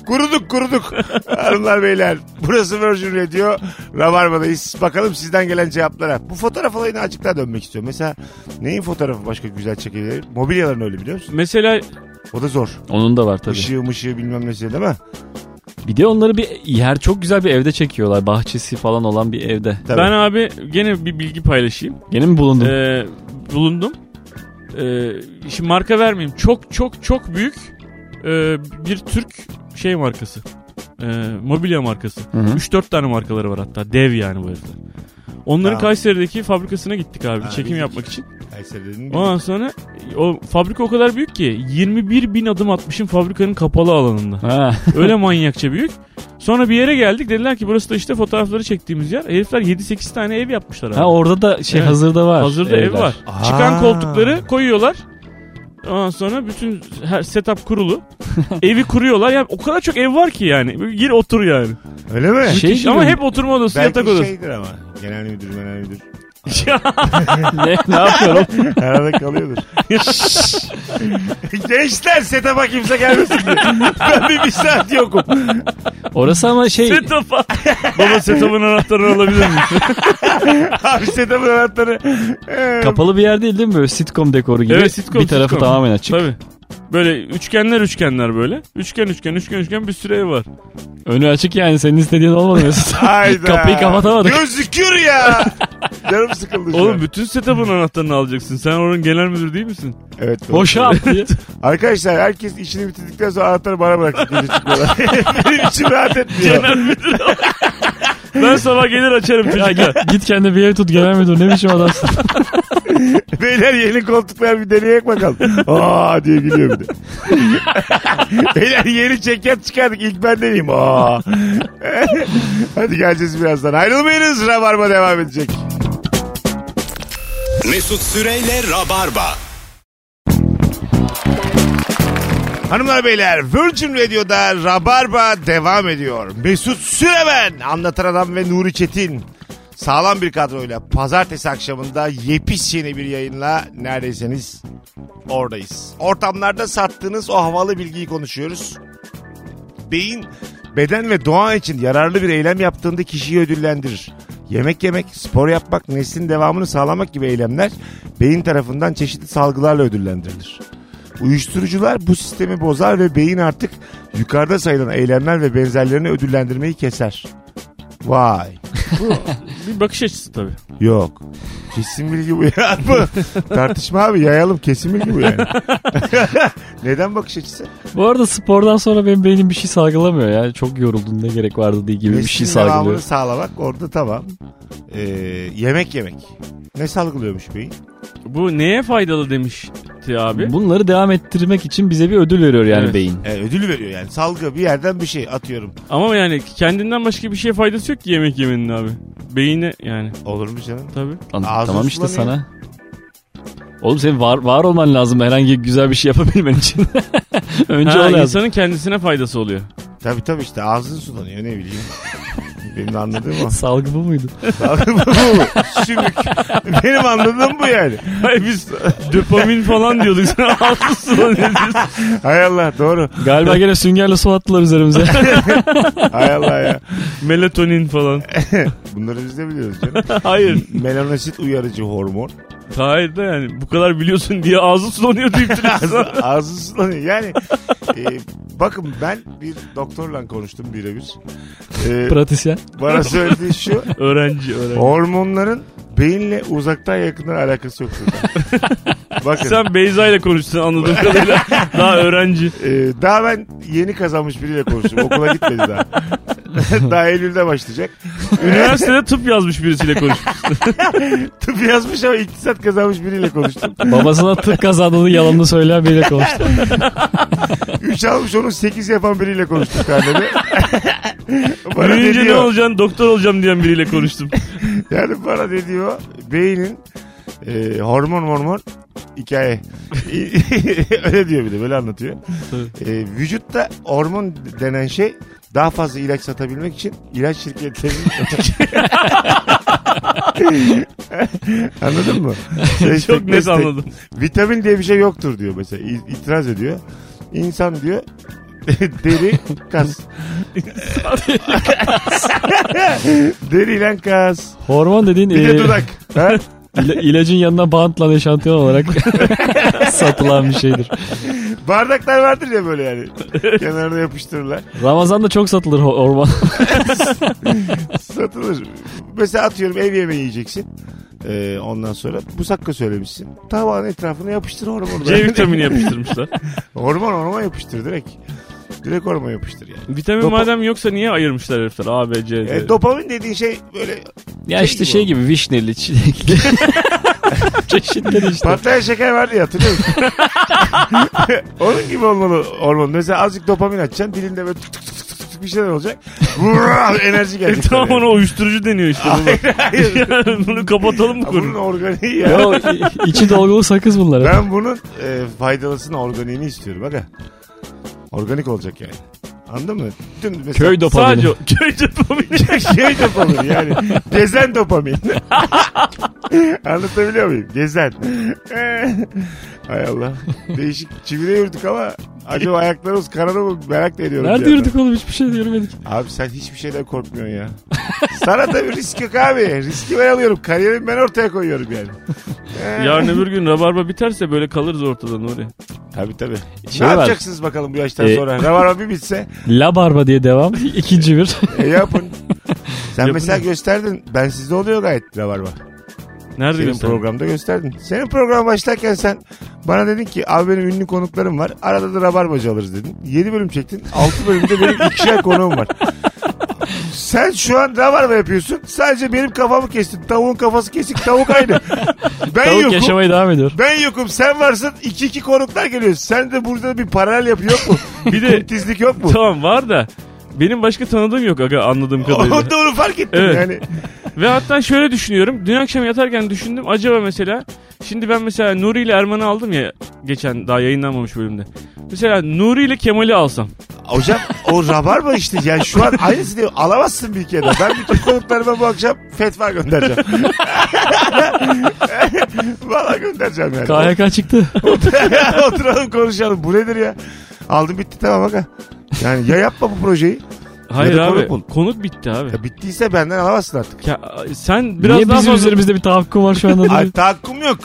Speaker 2: Kuruduk kuruduk. Hanımlar beyler burası Virgin Radio. Rabarba'dayız. Bakalım sizden gelen cevaplara. Bu fotoğraf olayına açıkta dönmek istiyorum. Mesela neyin fotoğrafı başka güzel çekilir? Mobilyaların öyle biliyor musun?
Speaker 3: Mesela
Speaker 2: O da zor.
Speaker 4: Onun da var tabii.
Speaker 2: Işığı mışığı bilmem nesi değil mi?
Speaker 4: Bir de onları bir yer çok güzel bir evde çekiyorlar. Bahçesi falan olan bir evde.
Speaker 2: Tabii.
Speaker 3: ben abi gene bir bilgi paylaşayım.
Speaker 4: Gene mi bulundun?
Speaker 3: Ee, bulundum. Ee, şimdi marka vermeyeyim. Çok çok çok büyük e, bir Türk şey markası. Ee, mobilya markası.
Speaker 4: Hı hı.
Speaker 3: 3-4 tane markaları var hatta. Dev yani bu herifler. Onların
Speaker 2: Ha.
Speaker 3: Kayseri'deki fabrikasına gittik abi
Speaker 2: Ha,
Speaker 3: çekim
Speaker 2: bildik.
Speaker 3: yapmak için.
Speaker 2: Kayseri dedin değil mi?
Speaker 3: Ondan sonra o fabrika o kadar büyük ki 21 bin adım atmışım fabrikanın kapalı alanında.
Speaker 4: Ha.
Speaker 3: Öyle manyakça büyük. Sonra bir yere geldik dediler ki burası da işte fotoğrafları çektiğimiz yer. Herifler 7-8 tane ev yapmışlar abi.
Speaker 4: ha orada da şey
Speaker 3: Evet.
Speaker 4: hazırda var.
Speaker 3: Hazırda ev
Speaker 4: evler.
Speaker 3: var.
Speaker 2: Aa.
Speaker 3: Çıkan koltukları koyuyorlar. Ondan sonra bütün her setup kurulu. Evi kuruyorlar. Ya o kadar çok ev var ki yani. Böyle Gir otur yani.
Speaker 2: Öyle mi?
Speaker 4: Şey gibi,
Speaker 3: Ama hep oturma odası,
Speaker 2: Belki
Speaker 3: yatak odası.
Speaker 2: şeydir ama. Genel müdür, genel müdür.
Speaker 3: Ya,
Speaker 4: ne, ne yapıyorum?
Speaker 2: Arada kalıyordur. Gençler setup'a kimse gelmesin diye. Ben bir, bir saat yokum.
Speaker 4: Orası ama şey
Speaker 3: setup'a. Baba setup'ın anahtarını alabilir miyim?
Speaker 2: Abi setup'ın anahtarı. Ee,
Speaker 4: kapalı bir yer değil değil mi? Böyle sitcom dekoru gibi.
Speaker 3: Evet sitcom.
Speaker 4: bir tarafı
Speaker 3: sitcom.
Speaker 4: tamamen açık.
Speaker 3: Tabii. Böyle üçgenler üçgenler böyle. Üçgen üçgen üçgen üçgen bir sürü ev var.
Speaker 4: Önü açık yani senin istediğin olmadı Mesut.
Speaker 2: Hayda.
Speaker 4: Kapıyı kapatamadık.
Speaker 2: Gözükür ya. Canım sıkıldı şu
Speaker 3: Oğlum
Speaker 2: an.
Speaker 3: bütün setup'ın anahtarını alacaksın. Sen oranın genel müdürü değil misin?
Speaker 2: Evet, doğru.
Speaker 4: Boşa at diye.
Speaker 2: Arkadaşlar herkes işini bitirdikten sonra anahtarı bana bıraktı. Gece çıkıyorlar. Benim içim rahat etmiyor.
Speaker 3: Ben sabah gelir açarım
Speaker 4: Ya
Speaker 3: çocuklar.
Speaker 4: git, git kendine bir ev tut genel müdür ne biçim adamsın.
Speaker 2: Beyler yeni koltuklar bir deneyek bakalım. Aa diye gülüyor bir de. Beyler yeni çeket çıkardık. İlk ben deneyeyim. Aa. Hadi geleceğiz birazdan. Ayrılmayınız. Rabarba devam edecek.
Speaker 1: Mesut Süreyle Rabarba.
Speaker 2: Hanımlar beyler Virgin Radio'da Rabarba devam ediyor. Mesut Süremen, Anlatan Adam ve Nuri Çetin. Sağlam bir kadroyla pazartesi akşamında yepis yeni bir yayınla neredeyseniz oradayız. Ortamlarda sattığınız o havalı bilgiyi konuşuyoruz. Beyin beden ve doğa için yararlı bir eylem yaptığında kişiyi ödüllendirir. Yemek yemek, spor yapmak, neslin devamını sağlamak gibi eylemler beyin tarafından çeşitli salgılarla ödüllendirilir. Uyuşturucular bu sistemi bozar ve beyin artık yukarıda sayılan eylemler ve benzerlerini ödüllendirmeyi keser. Vay.
Speaker 3: Bir bakış açısı tabii.
Speaker 2: Yok. Kesin bilgi bu ya. Bu tartışma abi yayalım kesin bilgi bu yani. Neden bakış açısı?
Speaker 4: Bu arada spordan sonra benim beynim bir şey salgılamıyor ya. Çok yoruldum ne gerek vardı diye gibi bir şey
Speaker 2: Neslin devamını
Speaker 4: salgılıyor.
Speaker 2: sağlamak orada tamam. Ee, yemek yemek. Ne salgılıyormuş beyin?
Speaker 3: Bu neye faydalı demişti abi.
Speaker 4: Bunları devam ettirmek için bize bir ödül veriyor yani
Speaker 3: Evet.
Speaker 4: beyin.
Speaker 2: Ee, ödül veriyor yani. Salgı bir yerden bir şey atıyorum.
Speaker 3: Ama yani kendinden başka bir şeye faydası yok ki yemek yemenin abi. Beyine yani
Speaker 2: Olur mu canım?
Speaker 3: tabii.
Speaker 4: An-
Speaker 2: Ağzı
Speaker 4: tamam işte
Speaker 2: sulanıyor.
Speaker 4: sana. Oğlum senin var, var olman lazım herhangi güzel bir şey yapabilmen için. Önce
Speaker 3: Ha,
Speaker 4: o lazım.
Speaker 3: insanın kendisine faydası oluyor.
Speaker 2: Tabii tabii işte ağzın sulanıyor ne bileyim. Benim de anladığım o.
Speaker 4: Salgı bu muydu?
Speaker 2: bu, bu. Sümük. Benim anladığım bu yani.
Speaker 3: Hayır biz dopamin falan diyorduk. Sen haklısın. lan dediniz.
Speaker 2: Hay Allah doğru.
Speaker 4: Galiba gene süngerle su attılar üzerimize.
Speaker 2: Hay Allah ya.
Speaker 3: Melatonin falan.
Speaker 2: Bunları biz de biliyoruz canım.
Speaker 3: Hayır.
Speaker 2: Melanosit uyarıcı hormon.
Speaker 3: Hayır da yani bu kadar biliyorsun diye ağzı sulanıyor deyip duruyorsun.
Speaker 2: Ağzı sulanıyor. Yani e, bakın ben bir doktorla konuştum birebir. E,
Speaker 4: Pratisyen.
Speaker 2: bana söylediği şu.
Speaker 3: öğrenci öğrenci.
Speaker 2: Hormonların beyinle uzaktan yakından alakası yok. zaten. bakın.
Speaker 3: Sen Beyza ile konuştun anladığım kadarıyla. Daha öğrenci.
Speaker 2: Ee, daha ben yeni kazanmış biriyle konuştum. Okula gitmedi daha. daha Eylül'de başlayacak.
Speaker 3: Üniversitede tıp yazmış birisiyle konuşmuş.
Speaker 2: Tıp yazmış ama iktisat kazanmış biriyle konuştum.
Speaker 4: Babasına tık kazandığını yalanını söyleyen biriyle konuştu.
Speaker 2: 3 almış onun 8 yapan biriyle konuştum karnede. bana ne
Speaker 3: Büyüyünce ne
Speaker 2: diyor?
Speaker 3: olacaksın doktor olacağım diyen biriyle konuştum.
Speaker 2: Yani bana ne diyor? Beynin e, hormon hormon hikaye. Öyle diyor bir de böyle anlatıyor. E, vücutta hormon denen şey daha fazla ilaç satabilmek için ilaç şirketlerinin Anladın mı?
Speaker 3: Çok net anladım.
Speaker 2: Vitamin diye bir şey yoktur diyor mesela. İ- İtiraz ediyor. İnsan diyor deri kas. deri lan kas.
Speaker 4: Hormon dediğin
Speaker 2: Bir
Speaker 3: Ee.
Speaker 4: e,
Speaker 2: de dudak. Ha?
Speaker 4: ila- ilacın yanına bantla eşantiyon olarak satılan bir şeydir.
Speaker 2: Bardaklar vardır ya böyle yani. Kenarına yapıştırırlar.
Speaker 4: Ramazan'da çok satılır ho- hormon.
Speaker 2: Satılır. Mesela atıyorum ev yemeği yiyeceksin. Ee, ondan sonra bu sakka söylemişsin. Tabağın etrafına yapıştır hormonu.
Speaker 3: C vitamini yapıştırmışlar.
Speaker 2: Hormon hormon yapıştır direkt. Direkt hormon yapıştır yani.
Speaker 3: Vitamin
Speaker 2: Dopa-
Speaker 3: madem yoksa niye ayırmışlar herifler A, B, C, D?
Speaker 2: E, dopamin dediğin şey böyle
Speaker 4: ya işte şey gibi vişneli, çilekli. Çeşitleri işte.
Speaker 2: patlayan şeker vardı ya hatırlıyor musun? Onun gibi olmalı hormon. Mesela azıcık dopamin açacaksın dilinde böyle tık tık tık tık tık tık bir şeyler olacak. Vural, enerji
Speaker 3: E
Speaker 2: gelecek.
Speaker 3: tamam
Speaker 2: böyle.
Speaker 3: ona uyuşturucu deniyor işte. Bunu.
Speaker 2: Hayır.
Speaker 3: Yani bunu kapatalım bu
Speaker 2: Ya Bunun
Speaker 3: konuyu.
Speaker 2: organiği ya.
Speaker 4: Yo, i- içi dolgulu sakız bunlar.
Speaker 2: Ben bunun e, faydalısını organiğini istiyorum. Aga. Organik olacak yani. Anladın mı? Tüm mesela,
Speaker 4: Köy dopamini.
Speaker 3: Sadece o- köy dopamini.
Speaker 2: şey dopamin yani. Gezen dopamin. Anlatabiliyor muyum? Gezen. Hay Allah. Değişik çivide yürüdük ama acaba ayaklarımız karadı mı merak da ediyorum. bir
Speaker 4: Nerede
Speaker 2: yandan.
Speaker 4: yürüdük oğlum hiçbir şey de yürümedik.
Speaker 2: Abi sen hiçbir şeyden korkmuyorsun ya. Sana da bir risk yok abi. Riski ben alıyorum. Kariyerimi ben ortaya koyuyorum yani.
Speaker 3: Yarın öbür gün rabarba biterse böyle kalırız ortadan oraya.
Speaker 2: Tabii tabii.
Speaker 4: Şey
Speaker 2: ne
Speaker 4: var.
Speaker 2: yapacaksınız bakalım bu yaştan
Speaker 4: Ee,
Speaker 2: sonra? Rabarba bir bitse
Speaker 4: La Barba diye devam. İkinci bir.
Speaker 2: E yapın. Sen
Speaker 3: Yapın
Speaker 2: mesela
Speaker 3: ya.
Speaker 2: gösterdin. Ben sizde oluyor gayet rabarba.
Speaker 3: Nerede
Speaker 2: Senin
Speaker 3: gösterin?
Speaker 2: programda gösterdin. Senin program başlarken sen bana dedin ki abi benim ünlü konuklarım var. Arada da rabarbacı alırız dedin. 7 bölüm çektin. 6 bölümde benim ikişer konuğum var. Sen şu an rabarba yapıyorsun. Sadece benim kafamı kestin. Tavuğun kafası kesik. Tavuk aynı. Ben
Speaker 4: Tavuk
Speaker 2: yokum.
Speaker 4: yaşamaya devam ediyor.
Speaker 2: Ben yokum sen varsın iki iki konuklar geliyor. Sen de burada bir paralel yapı yok mu?
Speaker 3: Bir de
Speaker 2: Tizlik yok mu?
Speaker 3: tamam var da benim başka tanıdığım yok aga anladığım kadarıyla.
Speaker 2: Onda onu fark ettim
Speaker 3: Evet.
Speaker 2: yani.
Speaker 3: Ve hatta şöyle düşünüyorum. Dün akşam yatarken düşündüm. Acaba mesela şimdi ben mesela Nuri ile Erman'ı aldım ya geçen daha yayınlanmamış bölümde. Mesela Nuri ile Kemal'i alsam.
Speaker 2: Hocam o rabarba işte. Yani şu an aynısı değil. Alamazsın bir kere. Ben bütün konuklarıma bu akşam fetva göndereceğim. Valla göndereceğim yani.
Speaker 4: KHK çıktı.
Speaker 2: Oturalım konuşalım. Bu nedir ya? Aldım bitti tamam aga. Yani ya yapma bu projeyi.
Speaker 3: Hayır
Speaker 2: Ya da
Speaker 3: abi
Speaker 2: konuk ol.
Speaker 3: konuk, bitti abi.
Speaker 2: Ya bittiyse benden alamazsın artık.
Speaker 3: Ya, sen biraz
Speaker 4: Niye
Speaker 3: daha fazla...
Speaker 4: bizim üzerimizde bir tahakküm var şu anda? değil mi?
Speaker 2: Ay tahakküm yok.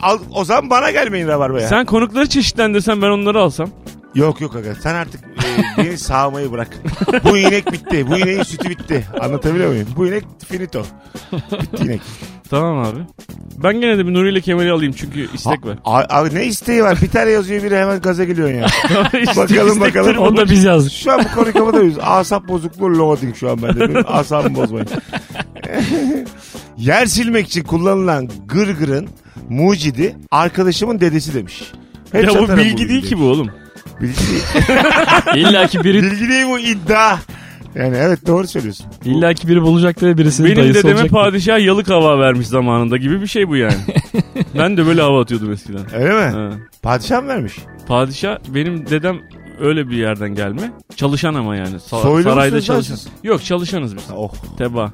Speaker 2: Al, o zaman bana gelmeyin rabarbaya.
Speaker 3: Sen konukları çeşitlendirsen ben onları alsam.
Speaker 2: Yok yok aga. Sen artık e, beni sağmayı bırak. Bu inek bitti. Bu ineğin sütü bitti. Anlatabiliyor muyum? Bu inek finito. Bitti inek.
Speaker 3: Tamam abi. Ben gene de bir Nuri ile Kemal'i alayım çünkü istek var.
Speaker 2: A- a- ne isteği var? Bir tane yazıyor biri hemen gaza geliyorsun ya.
Speaker 3: İstek-
Speaker 2: bakalım
Speaker 3: istekleri
Speaker 2: bakalım.
Speaker 3: bunlar.
Speaker 4: Onu da biz yazdık.
Speaker 2: Şu an bu konuyu kapatıyoruz. Asap bozukluğu loading şu an bende. Benim asabımı bozmayın. Yer silmek için kullanılan gırgırın mucidi arkadaşımın dedesi demiş. Hep
Speaker 3: Ya bu
Speaker 2: satarım
Speaker 3: bilgi değil ki bu oğlum.
Speaker 2: Bilgi değil.
Speaker 4: İlla ki biri,
Speaker 2: bilgi değil bu iddia. Yani evet doğru söylüyorsun.
Speaker 4: illa ki biri bulacaktı ve birisinin
Speaker 3: Benim
Speaker 4: dayısı
Speaker 3: dedeme
Speaker 4: olacaktı.
Speaker 3: padişah yalık hava vermiş zamanında gibi bir şey bu yani. ben de böyle hava atıyordum eskiden.
Speaker 2: Öyle mi?
Speaker 3: Ha.
Speaker 2: Padişah mı vermiş?
Speaker 3: Padişah benim dedem öyle bir yerden gelme. Çalışan ama yani. Sa-
Speaker 2: Soylu
Speaker 3: sarayda
Speaker 2: musunuz lan
Speaker 3: çalışan.
Speaker 2: siz?
Speaker 3: Yok çalışanız biz.
Speaker 2: Oh.
Speaker 3: Teba.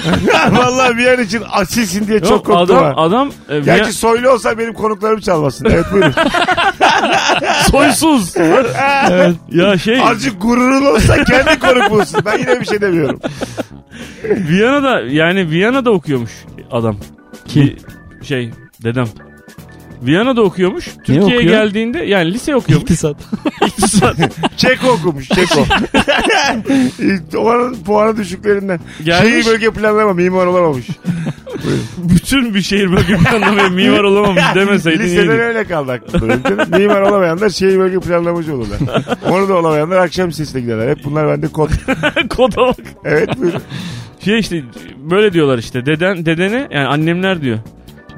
Speaker 2: Vallahi bir an için asilsin diye çok
Speaker 3: Yok,
Speaker 2: korktum
Speaker 3: adam,
Speaker 2: ha.
Speaker 3: adam e,
Speaker 2: Gerçi
Speaker 3: Viya-
Speaker 2: soylu olsa benim konuklarım çalmasın. Evet buyurun.
Speaker 3: soysuz. ya şey
Speaker 2: Azıcık gururun olsa kendi konuk bulsun. Ben yine bir şey demiyorum.
Speaker 3: Viyana'da yani Viyana'da okuyormuş adam. Ki şey dedem. Viyana'da okuyormuş. Türkiye'ye
Speaker 4: okuyor?
Speaker 3: geldiğinde yani lise okuyormuş.
Speaker 4: İktisat.
Speaker 3: İktisat.
Speaker 2: Çeko okumuş Çeko. Oranın puanı düşüklerinden.
Speaker 3: Gelmiş.
Speaker 2: Şehir bölge planlama mimar olamamış.
Speaker 3: Bütün bir şehir bölge planlamaya mimar olamamış demeseydin
Speaker 2: Liseden
Speaker 3: iyiydi.
Speaker 2: öyle kaldı aklımda. benim canım. mimar olamayanlar şehir bölge planlamacı olurlar. Onu da olamayanlar akşam sesine giderler. Hep bunlar bende kod.
Speaker 3: Koda bak.
Speaker 2: Evet buyurun.
Speaker 3: Şey işte böyle diyorlar işte deden dedene yani annemler diyor.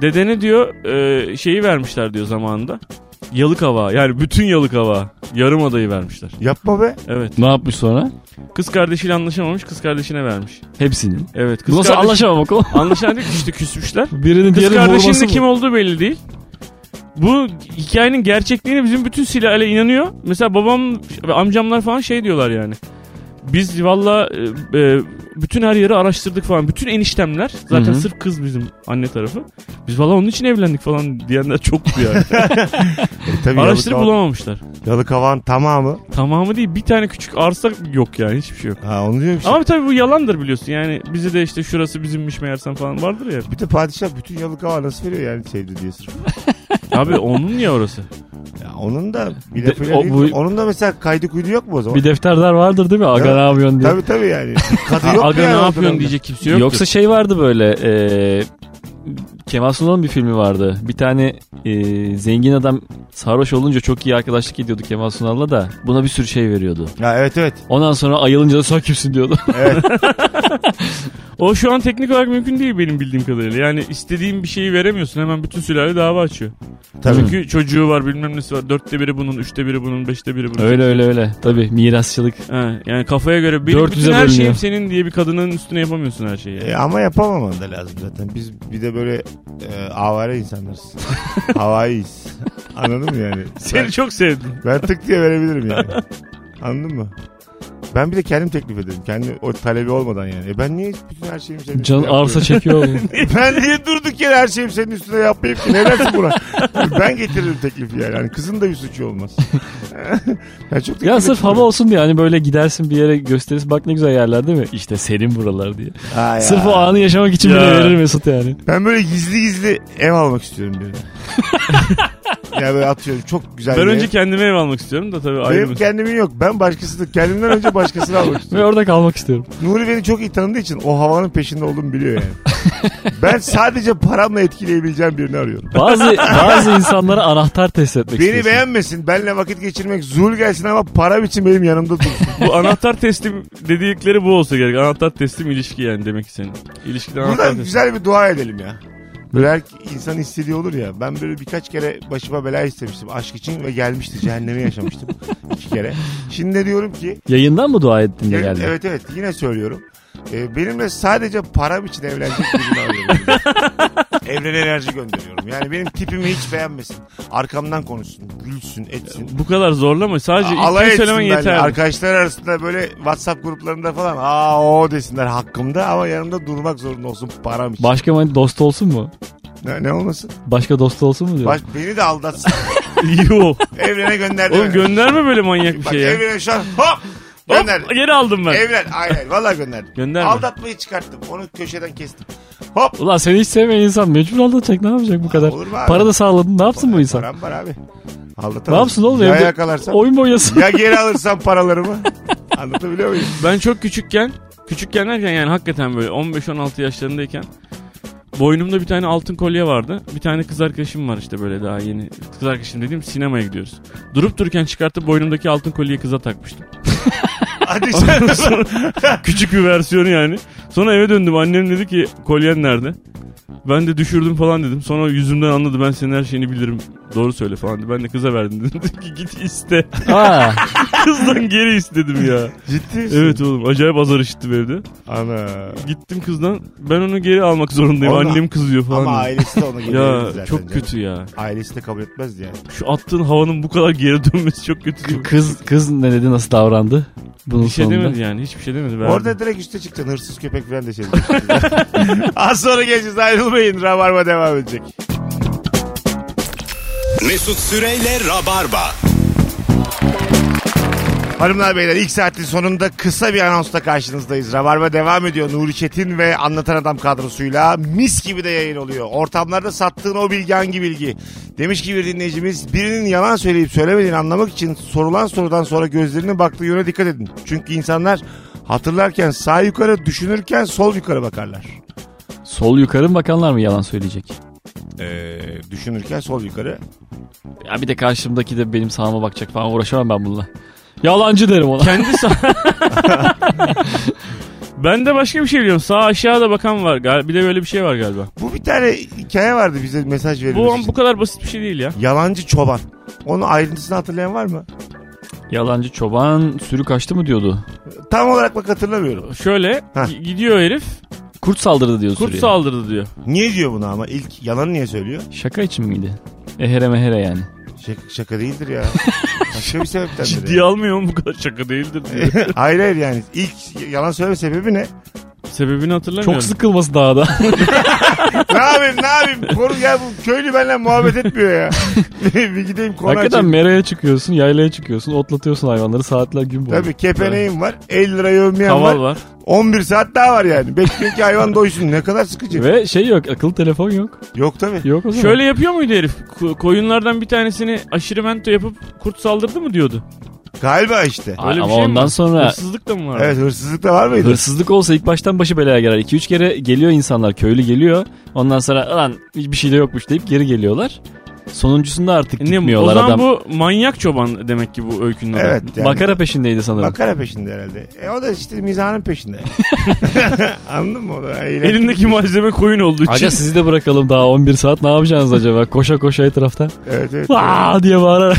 Speaker 3: Dedene diyor e, şeyi vermişler diyor zamanında. Yalık hava yani bütün yalık hava yarım adayı vermişler.
Speaker 2: Yapma be.
Speaker 3: Evet.
Speaker 4: ne yapmış sonra?
Speaker 3: Kız kardeşiyle anlaşamamış kız kardeşine vermiş.
Speaker 4: Hepsini.
Speaker 3: Evet. Kız
Speaker 4: Nasıl
Speaker 3: kardeş-
Speaker 4: anlaşamamak oğlum?
Speaker 3: Anlaşamadık işte küsmüşler.
Speaker 4: Birinin
Speaker 3: Kız
Speaker 4: diğerinin vurması
Speaker 3: kardeşinin
Speaker 4: mı?
Speaker 3: kim olduğu belli değil. Bu hikayenin gerçekliğine bizim bütün silahıyla inanıyor. Mesela babam ve amcamlar falan şey diyorlar yani. Biz valla e, e, bütün her yeri araştırdık falan. Bütün eniştemler zaten
Speaker 4: Hı hı.
Speaker 3: sırf kız bizim anne tarafı. Biz valla onun için evlendik falan diyenler çoktu yani.
Speaker 2: E, tabii
Speaker 3: Araştırıp
Speaker 2: Yalıkavan-
Speaker 3: bulamamışlar.
Speaker 2: Yalıkavan tamamı.
Speaker 3: Tamamı değil bir tane küçük arsa yok yani hiçbir şey yok.
Speaker 2: Ha onu diyorum işte.
Speaker 3: Ama tabii bu yalandır biliyorsun yani bizi de işte şurası bizimmiş meğersem falan vardır ya.
Speaker 2: Bir de padişah bütün Yalıkavan nasıl veriyor yani sevdi diye sırf.
Speaker 3: Abi onun ya orası.
Speaker 2: Ya onun da bir
Speaker 4: De-
Speaker 2: lafıyla
Speaker 4: o
Speaker 2: değil.
Speaker 4: bu-
Speaker 2: Onun da mesela kaydı kuydu yok mu o zaman?
Speaker 4: Bir defterdar vardır değil mi? Aga
Speaker 2: Evet.
Speaker 4: ne yapıyorsun diye.
Speaker 2: Tabii tabii yani. Kadı yok mu
Speaker 3: Aga
Speaker 2: yani
Speaker 3: ne
Speaker 2: ortada?
Speaker 3: yapıyorsun diyecek kimse yoktur.
Speaker 4: Yoksa şey vardı böyle e, Kemal Sunal'ın bir filmi vardı. Bir tane e, zengin adam sarhoş olunca çok iyi arkadaşlık ediyordu Kemal Sunal'la da. Buna bir sürü şey veriyordu.
Speaker 2: Ha, evet evet.
Speaker 4: Ondan sonra ayılınca da sen kimsin diyordu.
Speaker 3: O şu an teknik olarak mümkün değil benim bildiğim kadarıyla. Yani istediğin bir şeyi veremiyorsun. Hemen bütün sülale dava açıyor.
Speaker 2: Tabii.
Speaker 3: Çünkü çocuğu var bilmem nesi var. Dörtte biri bunun, üçte biri bunun, beşte biri bunun.
Speaker 4: öyle öyle öyle. Tabii mirasçılık.
Speaker 3: Ha, yani kafaya göre benim bütün
Speaker 4: 400'e
Speaker 3: her
Speaker 4: bölünüyor.
Speaker 3: şeyim senin diye bir kadının üstüne yapamıyorsun her şeyi. yani.
Speaker 2: E, ama yapamaman da lazım zaten. Biz bir de böyle e, avare insanlarız. Havaiyiz. Anladın mı yani?
Speaker 3: Seni çok sevdim.
Speaker 2: Ben, ben tık diye verebilirim yani. Anladın mı? Ben bir de kendim teklif ederim. Kendi o talebi olmadan yani. E ben niye bütün her şeyimi senin
Speaker 4: Can
Speaker 2: üstüne yapıyorum?
Speaker 4: arsa çekiyor oğlum.
Speaker 2: Ben niye durduk yere her şeyimi senin üstüne yapmayayım ki? Ne dersin buna? ben getiririm teklifi yani. Hani kızın da bir suçu olmaz. yani çok
Speaker 4: ya
Speaker 2: teklif
Speaker 4: sırf hava olsun diye hani böyle gidersin bir yere gösterirsin bak ne güzel yerler değil mi? İşte senin buralar diye.
Speaker 2: etmiyorum. Ha ya.
Speaker 4: Sırf o anı yaşamak için
Speaker 3: Ya.
Speaker 4: bile verir Mesut yani.
Speaker 2: Ben böyle gizli gizli ev almak istiyorum birine. yani böyle atıyorum çok güzel
Speaker 3: Ben
Speaker 2: bir
Speaker 3: önce
Speaker 2: ev.
Speaker 3: kendime ev almak istiyorum da tabii
Speaker 2: Benim
Speaker 3: ayrı.
Speaker 2: kendimin yok. Ben başkasını kendimden önce başkasını almak
Speaker 4: Ve
Speaker 2: istiyorum.
Speaker 4: orada kalmak istiyorum.
Speaker 2: Nuri beni çok iyi tanıdığı için o havanın peşinde olduğumu biliyor yani. ben sadece paramla etkileyebileceğim birini arıyorum.
Speaker 4: Bazı bazı insanlara anahtar test etmek
Speaker 2: Beni
Speaker 4: istiyorsun.
Speaker 2: beğenmesin, benle vakit geçirmek zul gelsin ama param için benim yanımda dursun.
Speaker 3: Bu anahtar teslim dedikleri bu olsa gerek. Anahtar teslim ilişki yani demek ki senin. İlişkiden anahtar
Speaker 2: Buradan
Speaker 3: teslim.
Speaker 2: güzel bir dua edelim ya. Böyle her insan istediği olur ya. Ben böyle birkaç kere başıma bela istemiştim aşk için ve gelmişti. Cehennemi yaşamıştım iki kere. Şimdi de diyorum ki
Speaker 4: Yayından mı dua ettin de
Speaker 2: Evet,
Speaker 4: geldi?
Speaker 2: Evet evet yine söylüyorum. Ee, benimle sadece param için evlenecek birini arıyorum. Evrene enerji gönderiyorum. Yani benim tipimi hiç beğenmesin. Arkamdan konuşsun, gülsün, etsin.
Speaker 3: Bu kadar zorlama. Sadece
Speaker 2: Alay
Speaker 3: ilk
Speaker 2: etsin
Speaker 3: söylemen
Speaker 2: benimle.
Speaker 3: yeterli.
Speaker 2: Arkadaşlar arasında böyle WhatsApp gruplarında falan aa o desinler hakkımda ama yanımda durmak zorunda olsun param için.
Speaker 4: Başka mani- dost olsun mu?
Speaker 2: ne, ne olmasın?
Speaker 4: Başka dost olsun mu diyor.
Speaker 2: Baş, beni de aldatsın.
Speaker 3: Yok.
Speaker 2: Evrene gönderdi.
Speaker 3: Oğlum
Speaker 2: beni.
Speaker 3: gönderme böyle manyak bir
Speaker 2: Bak
Speaker 3: şey ya.
Speaker 2: evrene şu an hop
Speaker 3: Hop,
Speaker 2: gönderdi.
Speaker 3: geri aldım ben.
Speaker 2: Evlen aynen valla gönderdim.
Speaker 3: Gönderme.
Speaker 2: Aldatmayı çıkarttım. Onu köşeden kestim. Hop
Speaker 4: Ulan seni hiç sevmeyen insan mecbur aldatacak ne yapacak bu kadar?
Speaker 2: Olur mu abi?
Speaker 4: Para da sağladın ne yapsın bu insan?
Speaker 2: Param var abi. Aldatamam.
Speaker 4: Ne yapsın oğlum
Speaker 2: Ya
Speaker 4: evde
Speaker 2: yakalarsam.
Speaker 4: oyun boyasın.
Speaker 2: Ya geri alırsam paralarımı. Anlatabiliyor muyum?
Speaker 3: Ben çok küçükken, küçükken derken yani hakikaten böyle 15-16 yaşlarındayken boynumda bir tane altın kolye vardı. Bir tane kız arkadaşım var işte böyle daha yeni. Kız arkadaşım dediğim sinemaya gidiyoruz. Durup dururken çıkartıp boynumdaki altın kolyeyi kıza takmıştım.
Speaker 2: Hadi sen.
Speaker 3: Küçük bir versiyonu yani. Sonra eve döndüm annem dedi ki kolyen nerede? Ben de düşürdüm falan dedim. Sonra yüzümden anladı ben senin her şeyini bilirim. Doğru söyle falan dedi. Ben de kıza verdim dedim. Dedi ki git iste.
Speaker 4: Aa,
Speaker 3: Kızdan geri istedim ya.
Speaker 2: Ciddi misin?
Speaker 3: evet oğlum acayip azar işittim evde.
Speaker 2: Ana.
Speaker 3: Gittim kızdan ben onu geri almak zorundayım.
Speaker 2: Oğlum,
Speaker 3: Annem kızıyor falan.
Speaker 2: Ama
Speaker 3: dedi.
Speaker 2: ailesi de onu geri verir zaten
Speaker 3: ya çok
Speaker 2: canım.
Speaker 3: kötü ya.
Speaker 2: Ailesi de kabul etmezdi yani.
Speaker 3: Şu attığın havanın bu kadar geri dönmesi çok kötü. değil mi?
Speaker 4: kız kız ne dedi nasıl davrandı? Bunun
Speaker 3: Bir şey
Speaker 4: sonunda.
Speaker 3: demedi yani hiçbir şey demedi. Verdi.
Speaker 2: Orada direkt üste çıkacaksın. Hırsız köpek falan da şey diyeceksin. Az sonra geleceğiz ayrılmayın. Rabarba devam edecek.
Speaker 1: Mesut Süreyle Rabarba.
Speaker 2: Hanımlar beyler ilk saatin sonunda kısa bir anonsla karşınızdayız. Rabarba devam ediyor. Nuri Çetin ve Anlatan Adam kadrosuyla mis gibi de yayın oluyor. Ortamlarda sattığın o bilgi hangi bilgi? Demiş ki bir dinleyicimiz birinin yalan söyleyip söylemediğini anlamak için sorulan sorudan sonra gözlerinin baktığı yöne dikkat edin. Çünkü insanlar hatırlarken sağ yukarı düşünürken sol yukarı bakarlar.
Speaker 4: Sol yukarı mı bakanlar mı yalan söyleyecek?
Speaker 2: Ee, düşünürken sol yukarı.
Speaker 4: Ya bir de karşımdaki de benim sağıma bakacak falan uğraşamam ben bununla. Yalancı derim ona.
Speaker 3: Kendi sağ... ben de başka bir şey biliyorum. Sağ aşağıda bakan var. Gal- Bir de böyle bir şey var galiba.
Speaker 2: Bu bir tane hikaye vardı bize mesaj
Speaker 3: Bu
Speaker 2: verilmiş.
Speaker 3: bu kadar basit bir şey değil ya.
Speaker 2: Yalancı çoban. Onun ayrıntısını hatırlayan var mı?
Speaker 4: Yalancı çoban sürü kaçtı mı diyordu.
Speaker 2: Tam olarak bak hatırlamıyorum.
Speaker 3: Şöyle
Speaker 2: Heh.
Speaker 3: gi- gidiyor herif.
Speaker 4: Kurt saldırdı diyor
Speaker 3: Kurt
Speaker 4: sürüye.
Speaker 3: saldırdı diyor.
Speaker 2: Niye diyor bunu ama? İlk yalanı niye söylüyor?
Speaker 4: Şaka için miydi? Ehere mehere yani.
Speaker 2: Şaka, şaka değildir ya. Başka bir sebeptendir.
Speaker 3: Ciddiye almıyor mu bu kadar şaka değildir diyor.
Speaker 2: ya. hayır hayır yani. İlk yalan söyleme sebebi ne?
Speaker 3: Sebebini hatırlamıyorum.
Speaker 4: Çok sıkılması dağda.
Speaker 2: ne yapayım ne yapayım? Konu ya bu köylü benimle muhabbet etmiyor ya. bir gideyim konu
Speaker 4: Hakikaten
Speaker 2: açayım.
Speaker 4: meraya çıkıyorsun, yaylaya çıkıyorsun, otlatıyorsun hayvanları saatler gün boyu.
Speaker 2: Tabii kepeneğim var. 50 lira yövmeyen var.
Speaker 3: Kaval var.
Speaker 2: 11 saat daha var yani. Bekliyor ki hayvan doysun. Ne kadar sıkıcı.
Speaker 4: Ve şey yok, akıllı telefon yok.
Speaker 2: Yok tabii.
Speaker 4: Yok o zaman.
Speaker 3: Şöyle yapıyor muydu herif? Ko- Koyunlardan bir tanesini aşırımento yapıp kurt saldırdı mı diyordu?
Speaker 2: Galiba işte.
Speaker 4: Ay,
Speaker 3: Öyle bir
Speaker 4: ama
Speaker 3: şey mi
Speaker 4: ondan
Speaker 3: var?
Speaker 4: sonra
Speaker 3: Hırsızlık da mı var?
Speaker 2: Evet hırsızlık da var mıydı?
Speaker 4: hırsızlık olsa ilk baştan başı belaya girer. 2-3 kere geliyor insanlar, köylü geliyor. Ondan sonra lan bir şey de yokmuş deyip geri geliyorlar. Sonuncusunda artık
Speaker 3: E Ne, o
Speaker 4: gitmiyorlar
Speaker 3: zaman
Speaker 4: adam.
Speaker 3: bu manyak çoban demek ki bu öykünün adı.
Speaker 2: Evet yani.
Speaker 4: Makara peşindeydi sanırım.
Speaker 2: Makara peşinde herhalde. E o da işte mizahın peşinde. Anladın mı? O da eğlenceli.
Speaker 3: Elindeki malzeme koyun olduğu için.
Speaker 4: Aga sizi de bırakalım daha 11 saat ne yapacaksınız acaba? Koşa koşa etrafta.
Speaker 2: şey. Evet evet.
Speaker 4: Aa diye bağırarak.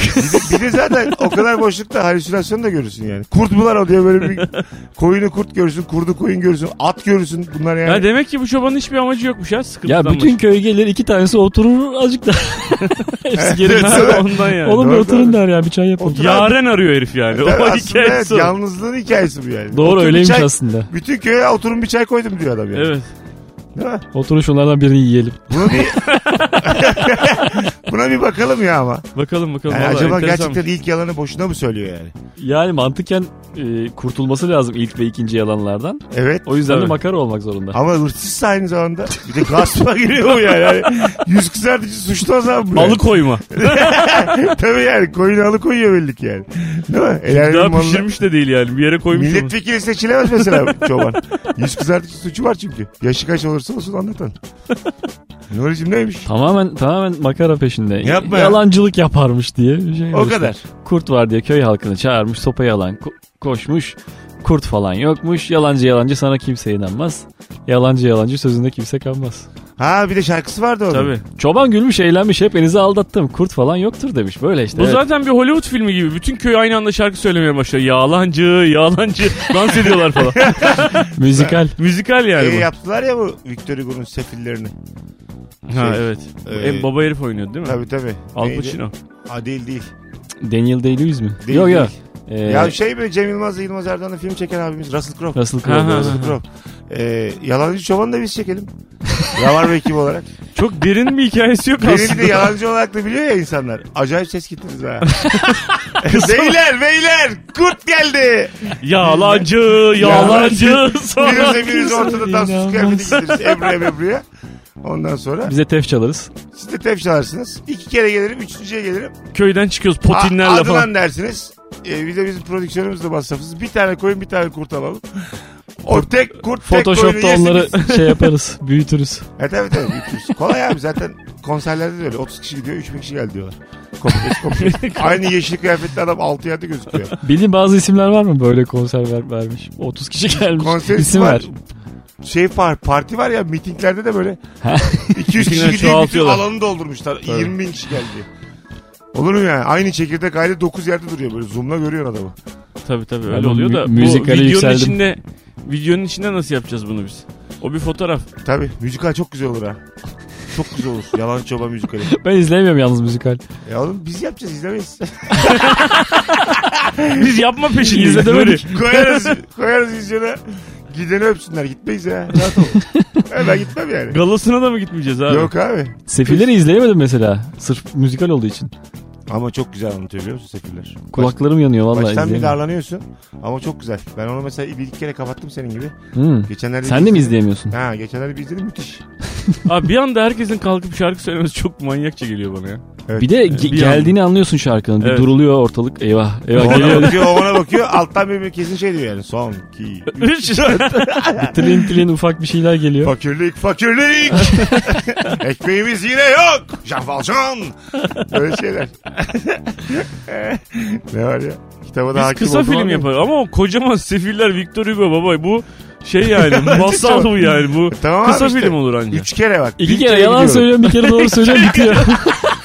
Speaker 2: Bir de zaten o kadar boşlukta halüsinasyon da görürsün yani. Kurt bular o diye böyle bir koyunu kurt görürsün, kurdu koyun görürsün, at görürsün. Bunlar yani.
Speaker 3: Ya demek ki bu çobanın hiçbir amacı yokmuş ya sıkıntıdan.
Speaker 4: ya bütün köy gelir iki tanesi oturur azıcık da. Hepsi geri
Speaker 3: başka.
Speaker 4: gider.
Speaker 3: ondan yani.
Speaker 4: Oğlum bir
Speaker 2: Doğru,
Speaker 4: oturun
Speaker 2: doğru.
Speaker 4: der ya bir çay yapalım.
Speaker 2: Otur-
Speaker 3: Yaren arıyor herif yani.
Speaker 2: Yani
Speaker 3: o
Speaker 2: aslında evet,
Speaker 3: hikayesi o.
Speaker 2: yalnızlığın hikayesi bu yani.
Speaker 4: Doğru
Speaker 2: Otur bir
Speaker 4: öyleymiş
Speaker 2: çay-
Speaker 4: aslında.
Speaker 2: Bütün köye oturun bir çay koydum diyor adam yani.
Speaker 3: Evet.
Speaker 2: Değil mi?
Speaker 4: Oturun şunlardan birini yiyelim.
Speaker 2: Bunu bir... Buna bir bakalım ya ama.
Speaker 3: Bakalım bakalım.
Speaker 2: Yani
Speaker 3: Vallahi
Speaker 2: acaba
Speaker 3: enteresanmış.
Speaker 2: gerçekten ilk yalanı boşuna mı söylüyor yani?
Speaker 4: Yani mantıken e, kurtulması lazım ilk ve ikinci yalanlardan.
Speaker 2: Evet.
Speaker 4: O yüzden
Speaker 3: Tabii.
Speaker 4: de makara olmak zorunda.
Speaker 2: Ama hırsızsa aynı zamanda. Bir de gaspa giriyor bu yani. yani. Yüz kızartıcı suçlu o zaman bu. yani.
Speaker 3: Alıkoyma.
Speaker 2: Tabii yani koyunu alıkoyuyor belli ki yani. Değil mi? El alemin
Speaker 3: Daha
Speaker 2: malına-
Speaker 3: pişirmiş de değil yani. Bir yere koymuş. onu.
Speaker 2: Milletvekili seçilemez mesela çoban. Yüz kızartıcı suçu var çünkü. Yaşı kaç olursa olsun anlatan. Nuri'cim neymiş?
Speaker 4: Tamamen tamamen makara peşinde.
Speaker 2: Yapma ya.
Speaker 4: Yalancılık yaparmış diye. Bir şey
Speaker 2: O
Speaker 4: var.
Speaker 2: kadar.
Speaker 4: Kurt var diye köy halkını çağırmış sopayı alan ko- koşmuş. Kurt falan yokmuş. Yalancı yalancı sana kimse inanmaz. Yalancı yalancı sözünde kimse kalmaz.
Speaker 2: Ha bir de şarkısı vardı onun.
Speaker 3: Tabii.
Speaker 4: Çoban gülmüş eğlenmiş hepinizi aldattım. Kurt falan yoktur demiş. Böyle işte.
Speaker 3: Bu
Speaker 4: evet.
Speaker 3: zaten bir Hollywood filmi gibi. Bütün köy aynı anda şarkı söylemeye başlıyor. Yağlancı, yağlancı. Dans ediyorlar falan.
Speaker 4: Müzikal.
Speaker 3: Müzikal yani
Speaker 2: Ee,
Speaker 3: bu.
Speaker 2: yaptılar ya bu Victor Hugo'nun sefillerini.
Speaker 3: Ha
Speaker 2: şey,
Speaker 3: evet.
Speaker 2: e,
Speaker 3: E, baba herif oynuyordu değil mi?
Speaker 2: Tabii tabii.
Speaker 3: Al
Speaker 2: Neydi?
Speaker 3: Pacino.
Speaker 2: Ha değil değil.
Speaker 4: Daniel Day-Lewis mi?
Speaker 2: Değil,
Speaker 4: yok
Speaker 2: değil.
Speaker 4: yok. Ee,
Speaker 2: Ya şey böyle Cem Yılmaz'la Yılmaz Erdoğan'la film çeken abimiz Russell Crowe.
Speaker 4: Russell Crowe.
Speaker 3: Ha, ha,
Speaker 4: doğru.
Speaker 2: Russell Crowe. Ee, yalancı çobanı da biz çekelim. Ravar ekibi olarak.
Speaker 3: Çok derin bir hikayesi yok
Speaker 2: Beni
Speaker 3: aslında.
Speaker 2: de yalancı olarak da biliyor ya insanlar. Acayip ses getiririz ha. beyler beyler kurt geldi.
Speaker 3: Yalancı, yalancı. Sonra
Speaker 2: Birimize birimiz
Speaker 4: kimse
Speaker 2: ortada dansız
Speaker 4: inanmaz.
Speaker 2: kıyafeti giydiririz. Ebru'ya Ebru'ya. Ondan sonra
Speaker 4: Bize tef çalarız.
Speaker 2: siz de tef çalarsınız. İki kere gelirim, üçüncüye gelirim.
Speaker 3: köyden çıkıyoruz
Speaker 2: A-
Speaker 3: potinlerle
Speaker 2: Adı
Speaker 3: falan.
Speaker 2: lan dersiniz. Ee, bir de bizim prodüksiyonumuz da masrafsız. Bir tane koyun bir tane kurt alalım. O tek kurt tek koyunu
Speaker 4: Photoshop'ta
Speaker 2: yesiniz.
Speaker 4: onları şey yaparız. Büyütürüz.
Speaker 2: E tabii tabii. büyütürüz. Kolay abi zaten konserlerde de öyle. 30 kişi gidiyor 3000 kişi geldi diyorlar. Kopyası kopyası. Aynı yeşil kıyafetli adam 6 yerde gözüküyor.
Speaker 4: Bildiğin bazı isimler var mı böyle konser ver- vermiş? 30 kişi gelmiş.
Speaker 2: Konser
Speaker 4: İsim
Speaker 2: var.
Speaker 4: ver.
Speaker 2: şey var parti var ya mitinglerde de böyle 200 kişi
Speaker 3: Mitingler
Speaker 2: gidiyor bütün
Speaker 3: çoğaltıyorlar.
Speaker 2: alanı doldurmuşlar.
Speaker 3: Tabii.
Speaker 2: 20 bin kişi geldi. Olur mu yani? Aynı çekirdek aile 9 yerde duruyor böyle. Zoom'la görüyorsun adamı.
Speaker 3: Tabii tabii
Speaker 4: Ben
Speaker 3: öyle
Speaker 4: bu
Speaker 3: oluyor da
Speaker 4: mü-
Speaker 3: bu
Speaker 4: müzikale
Speaker 3: videonun
Speaker 4: yükseldim.
Speaker 3: içinde videonun içinde nasıl yapacağız bunu biz? O bir fotoğraf.
Speaker 2: Tabii müzikal çok güzel olur ha. Çok güzel olur. Yalan çoba müzikali.
Speaker 4: Ben izleyemiyorum yalnız müzikal.
Speaker 2: Ya oğlum biz yapacağız izlemeyiz.
Speaker 3: Biz yapma peşindeyiz.
Speaker 4: İzledemedik.
Speaker 2: koyarız, koyarız vizyona. Gideni öpsünler gitmeyiz ya. Rahat ol. Ha, ben gitmem yani.
Speaker 3: Galasına da mı gitmeyeceğiz abi?
Speaker 2: Yok abi.
Speaker 4: Sefilleri izleyemedim mesela. Sırf müzikal olduğu için.
Speaker 2: Ama çok güzel anlatıyor biliyor musun Sefiller?
Speaker 4: Kulaklarım yanıyor vallahi
Speaker 2: Baştan bir
Speaker 4: izleyemiyorum.
Speaker 2: darlanıyorsun ama çok güzel. Ben onu mesela bir iki kere kapattım senin gibi.
Speaker 4: Hmm.
Speaker 2: Geçenlerde
Speaker 4: Sen
Speaker 2: bir
Speaker 4: de mi
Speaker 2: izledim.
Speaker 4: izleyemiyorsun?
Speaker 2: Ha geçenlerde bir izledim müthiş.
Speaker 3: Abi bir anda herkesin kalkıp şarkı söylemesi çok manyakça geliyor bana ya.
Speaker 4: Bir de
Speaker 3: Bir
Speaker 4: ge-
Speaker 3: an-
Speaker 4: geldiğini anlıyorsun şarkının. Bir
Speaker 3: Evet.
Speaker 4: duruluyor ortalık. Eyvah.
Speaker 2: O
Speaker 4: Eyvah
Speaker 2: ona
Speaker 4: geliyor.
Speaker 2: bakıyor, o ona bakıyor. Alttan bir, bir kesin şey diyor yani. Son, iki, üç.
Speaker 4: Trilin trilin ufak bir şeyler geliyor.
Speaker 2: Fakirlik, fakirlik. Ekmeğimiz yine yok. Jean Valjean. Böyle şeyler. ne var ya? Kitaba da
Speaker 3: Biz
Speaker 2: hakim
Speaker 3: kısa
Speaker 2: oldum
Speaker 3: film
Speaker 2: abi.
Speaker 3: yapar ama o kocaman sefiller Victor Hugo baba bu şey yani masal bu yani bu.
Speaker 2: E, Tamam abi
Speaker 3: kısa
Speaker 2: işte.
Speaker 3: film olur anca.
Speaker 2: Üç kere bak.
Speaker 4: İki
Speaker 2: bir
Speaker 4: kere yalan
Speaker 2: gidiyorum.
Speaker 4: söylüyorum bir kere doğru söylüyorum bitiyor.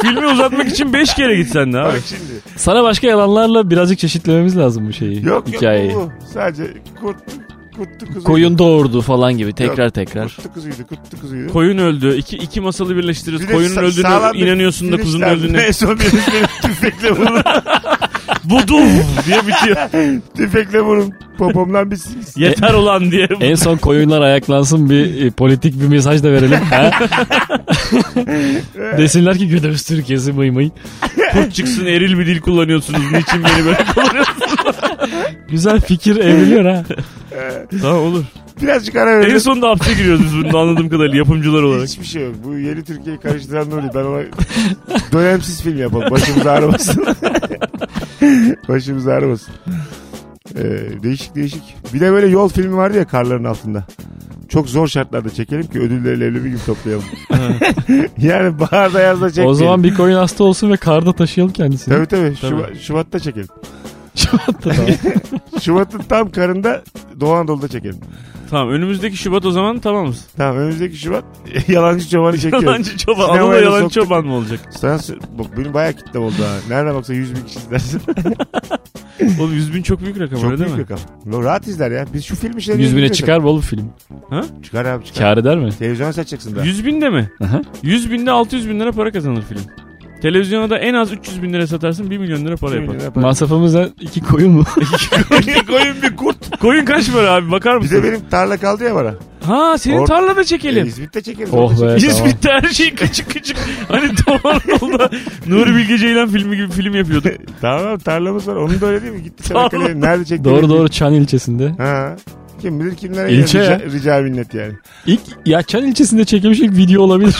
Speaker 3: Filmi uzatmak için beş kere gitsen de abi.
Speaker 2: Bak şimdi.
Speaker 4: Sana başka yalanlarla birazcık çeşitlememiz lazım bu şeyi.
Speaker 2: Yok
Speaker 4: hikayeyi.
Speaker 2: yok bu. Sadece kurt, kurtlu kuzuydu.
Speaker 4: Koyun doğurdu falan gibi tekrar tekrar.
Speaker 2: Kurtlu kuzuydu, kurtlu kuzuydu.
Speaker 3: Koyun öldü. İki, iki masalı birleştiririz.
Speaker 2: Bir de
Speaker 3: Koyunun
Speaker 2: sa-
Speaker 3: öldüğüne
Speaker 2: sağlam bir
Speaker 3: inanıyorsun da kuzunun
Speaker 2: finişlerdi.
Speaker 3: öldüğüne.
Speaker 2: En son birisi benim tüfekle vurun.
Speaker 3: Budum diye bitiyor.
Speaker 2: tüfekle vurun. Popomdan bir sis.
Speaker 3: Yeter ulan diye.
Speaker 4: En son koyunlar ayaklansın bir e, politik bir mesaj da verelim. Ha? Desinler ki günümüz Türkiye'si mıy mıy.
Speaker 3: Kurt çıksın eril bir dil kullanıyorsunuz. Niçin beni böyle kullanıyorsunuz?
Speaker 4: Güzel fikir evriliyor ha.
Speaker 3: tamam olur.
Speaker 2: Birazcık ara verelim.
Speaker 3: En sonunda hapse giriyoruz biz bunu da anladığım kadarıyla yapımcılar olarak.
Speaker 2: Hiçbir şey yok. Bu yeni Türkiye'yi karıştıran Nuri. Ben ona dönemsiz film yapalım. Başımız ağrımasın. Başımız ağrımasın. Ee, değişik değişik. Bir de böyle yol filmi vardı ya karların altında. Çok zor şartlarda çekelim ki ödülleri leblebi gibi toplayalım. yani baharda yazda çekmeyelim.
Speaker 4: O zaman bir koyun hasta olsun ve karda taşıyalım kendisini.
Speaker 2: Tabii tabii. Şuba- Şubat'ta çekelim. Şubat'ın tam karında Doğu Anadolu'da çekelim.
Speaker 3: Tamam önümüzdeki Şubat o zaman tamamız.
Speaker 2: Tamam önümüzdeki Şubat yalancı çobanı çekiyoruz.
Speaker 3: Yalancı çoban.
Speaker 2: Sinemaya
Speaker 3: Anadolu
Speaker 2: da
Speaker 3: yalancı
Speaker 2: soktuk.
Speaker 3: çoban mı olacak?
Speaker 2: Sen, bak benim bayağı kitlem oldu ha. Nereden baksa 100 bin kişi izlersin.
Speaker 3: Oğlum 100 bin çok büyük rakam
Speaker 2: Çok
Speaker 3: öyle değil
Speaker 2: büyük
Speaker 3: mi?
Speaker 2: rakam. Lo, rahat izler ya. Biz şu film işlerini...
Speaker 4: 100 bine
Speaker 2: izliyoruz.
Speaker 4: çıkar mı oğlum film?
Speaker 2: Çıkar abi çıkar.
Speaker 4: Kâr eder mi?
Speaker 2: Televizyona saçacaksın daha.
Speaker 3: 100 bin de mi?
Speaker 4: Aha.
Speaker 3: 100 binde 600 bin lira para kazanır film. Televizyona da en az 300 bin lira satarsın 1 milyon lira para yapar.
Speaker 4: Masrafımız da iki koyun mu?
Speaker 2: Koyun, koyun bir kurt.
Speaker 3: Koyun kaç para abi bakar
Speaker 2: Bir
Speaker 3: mısın?
Speaker 2: de benim tarla kaldı ya bana.
Speaker 3: Ha senin
Speaker 2: Or-
Speaker 3: tarlada
Speaker 2: E,
Speaker 3: çekelim.
Speaker 2: İzmit'te çekeriz.
Speaker 4: Oh
Speaker 2: orada çekeriz.
Speaker 4: be. tamam.
Speaker 3: İzmit'te her şey kaçık kaçık. Hani Doğu Anadolu'da Nuri Bilge Ceylan filmi gibi film yapıyorduk.
Speaker 2: Tamam tarlamız var. Onun da öyle değil mi? Gitti
Speaker 3: Tarla.
Speaker 2: Çanakkale'ye. Nerede çekti?
Speaker 4: doğru doğru Çan ilçesinde.
Speaker 2: Ha. Kim bilir kimlere
Speaker 4: İlçe
Speaker 2: rica,
Speaker 4: ya.
Speaker 2: rica minnet yani.
Speaker 4: İlk ya Çan ilçesinde çekilmiş ilk video olabilir.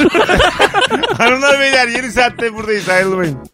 Speaker 2: Hanımlar beyler yeni saatte buradayız ayrılmayın.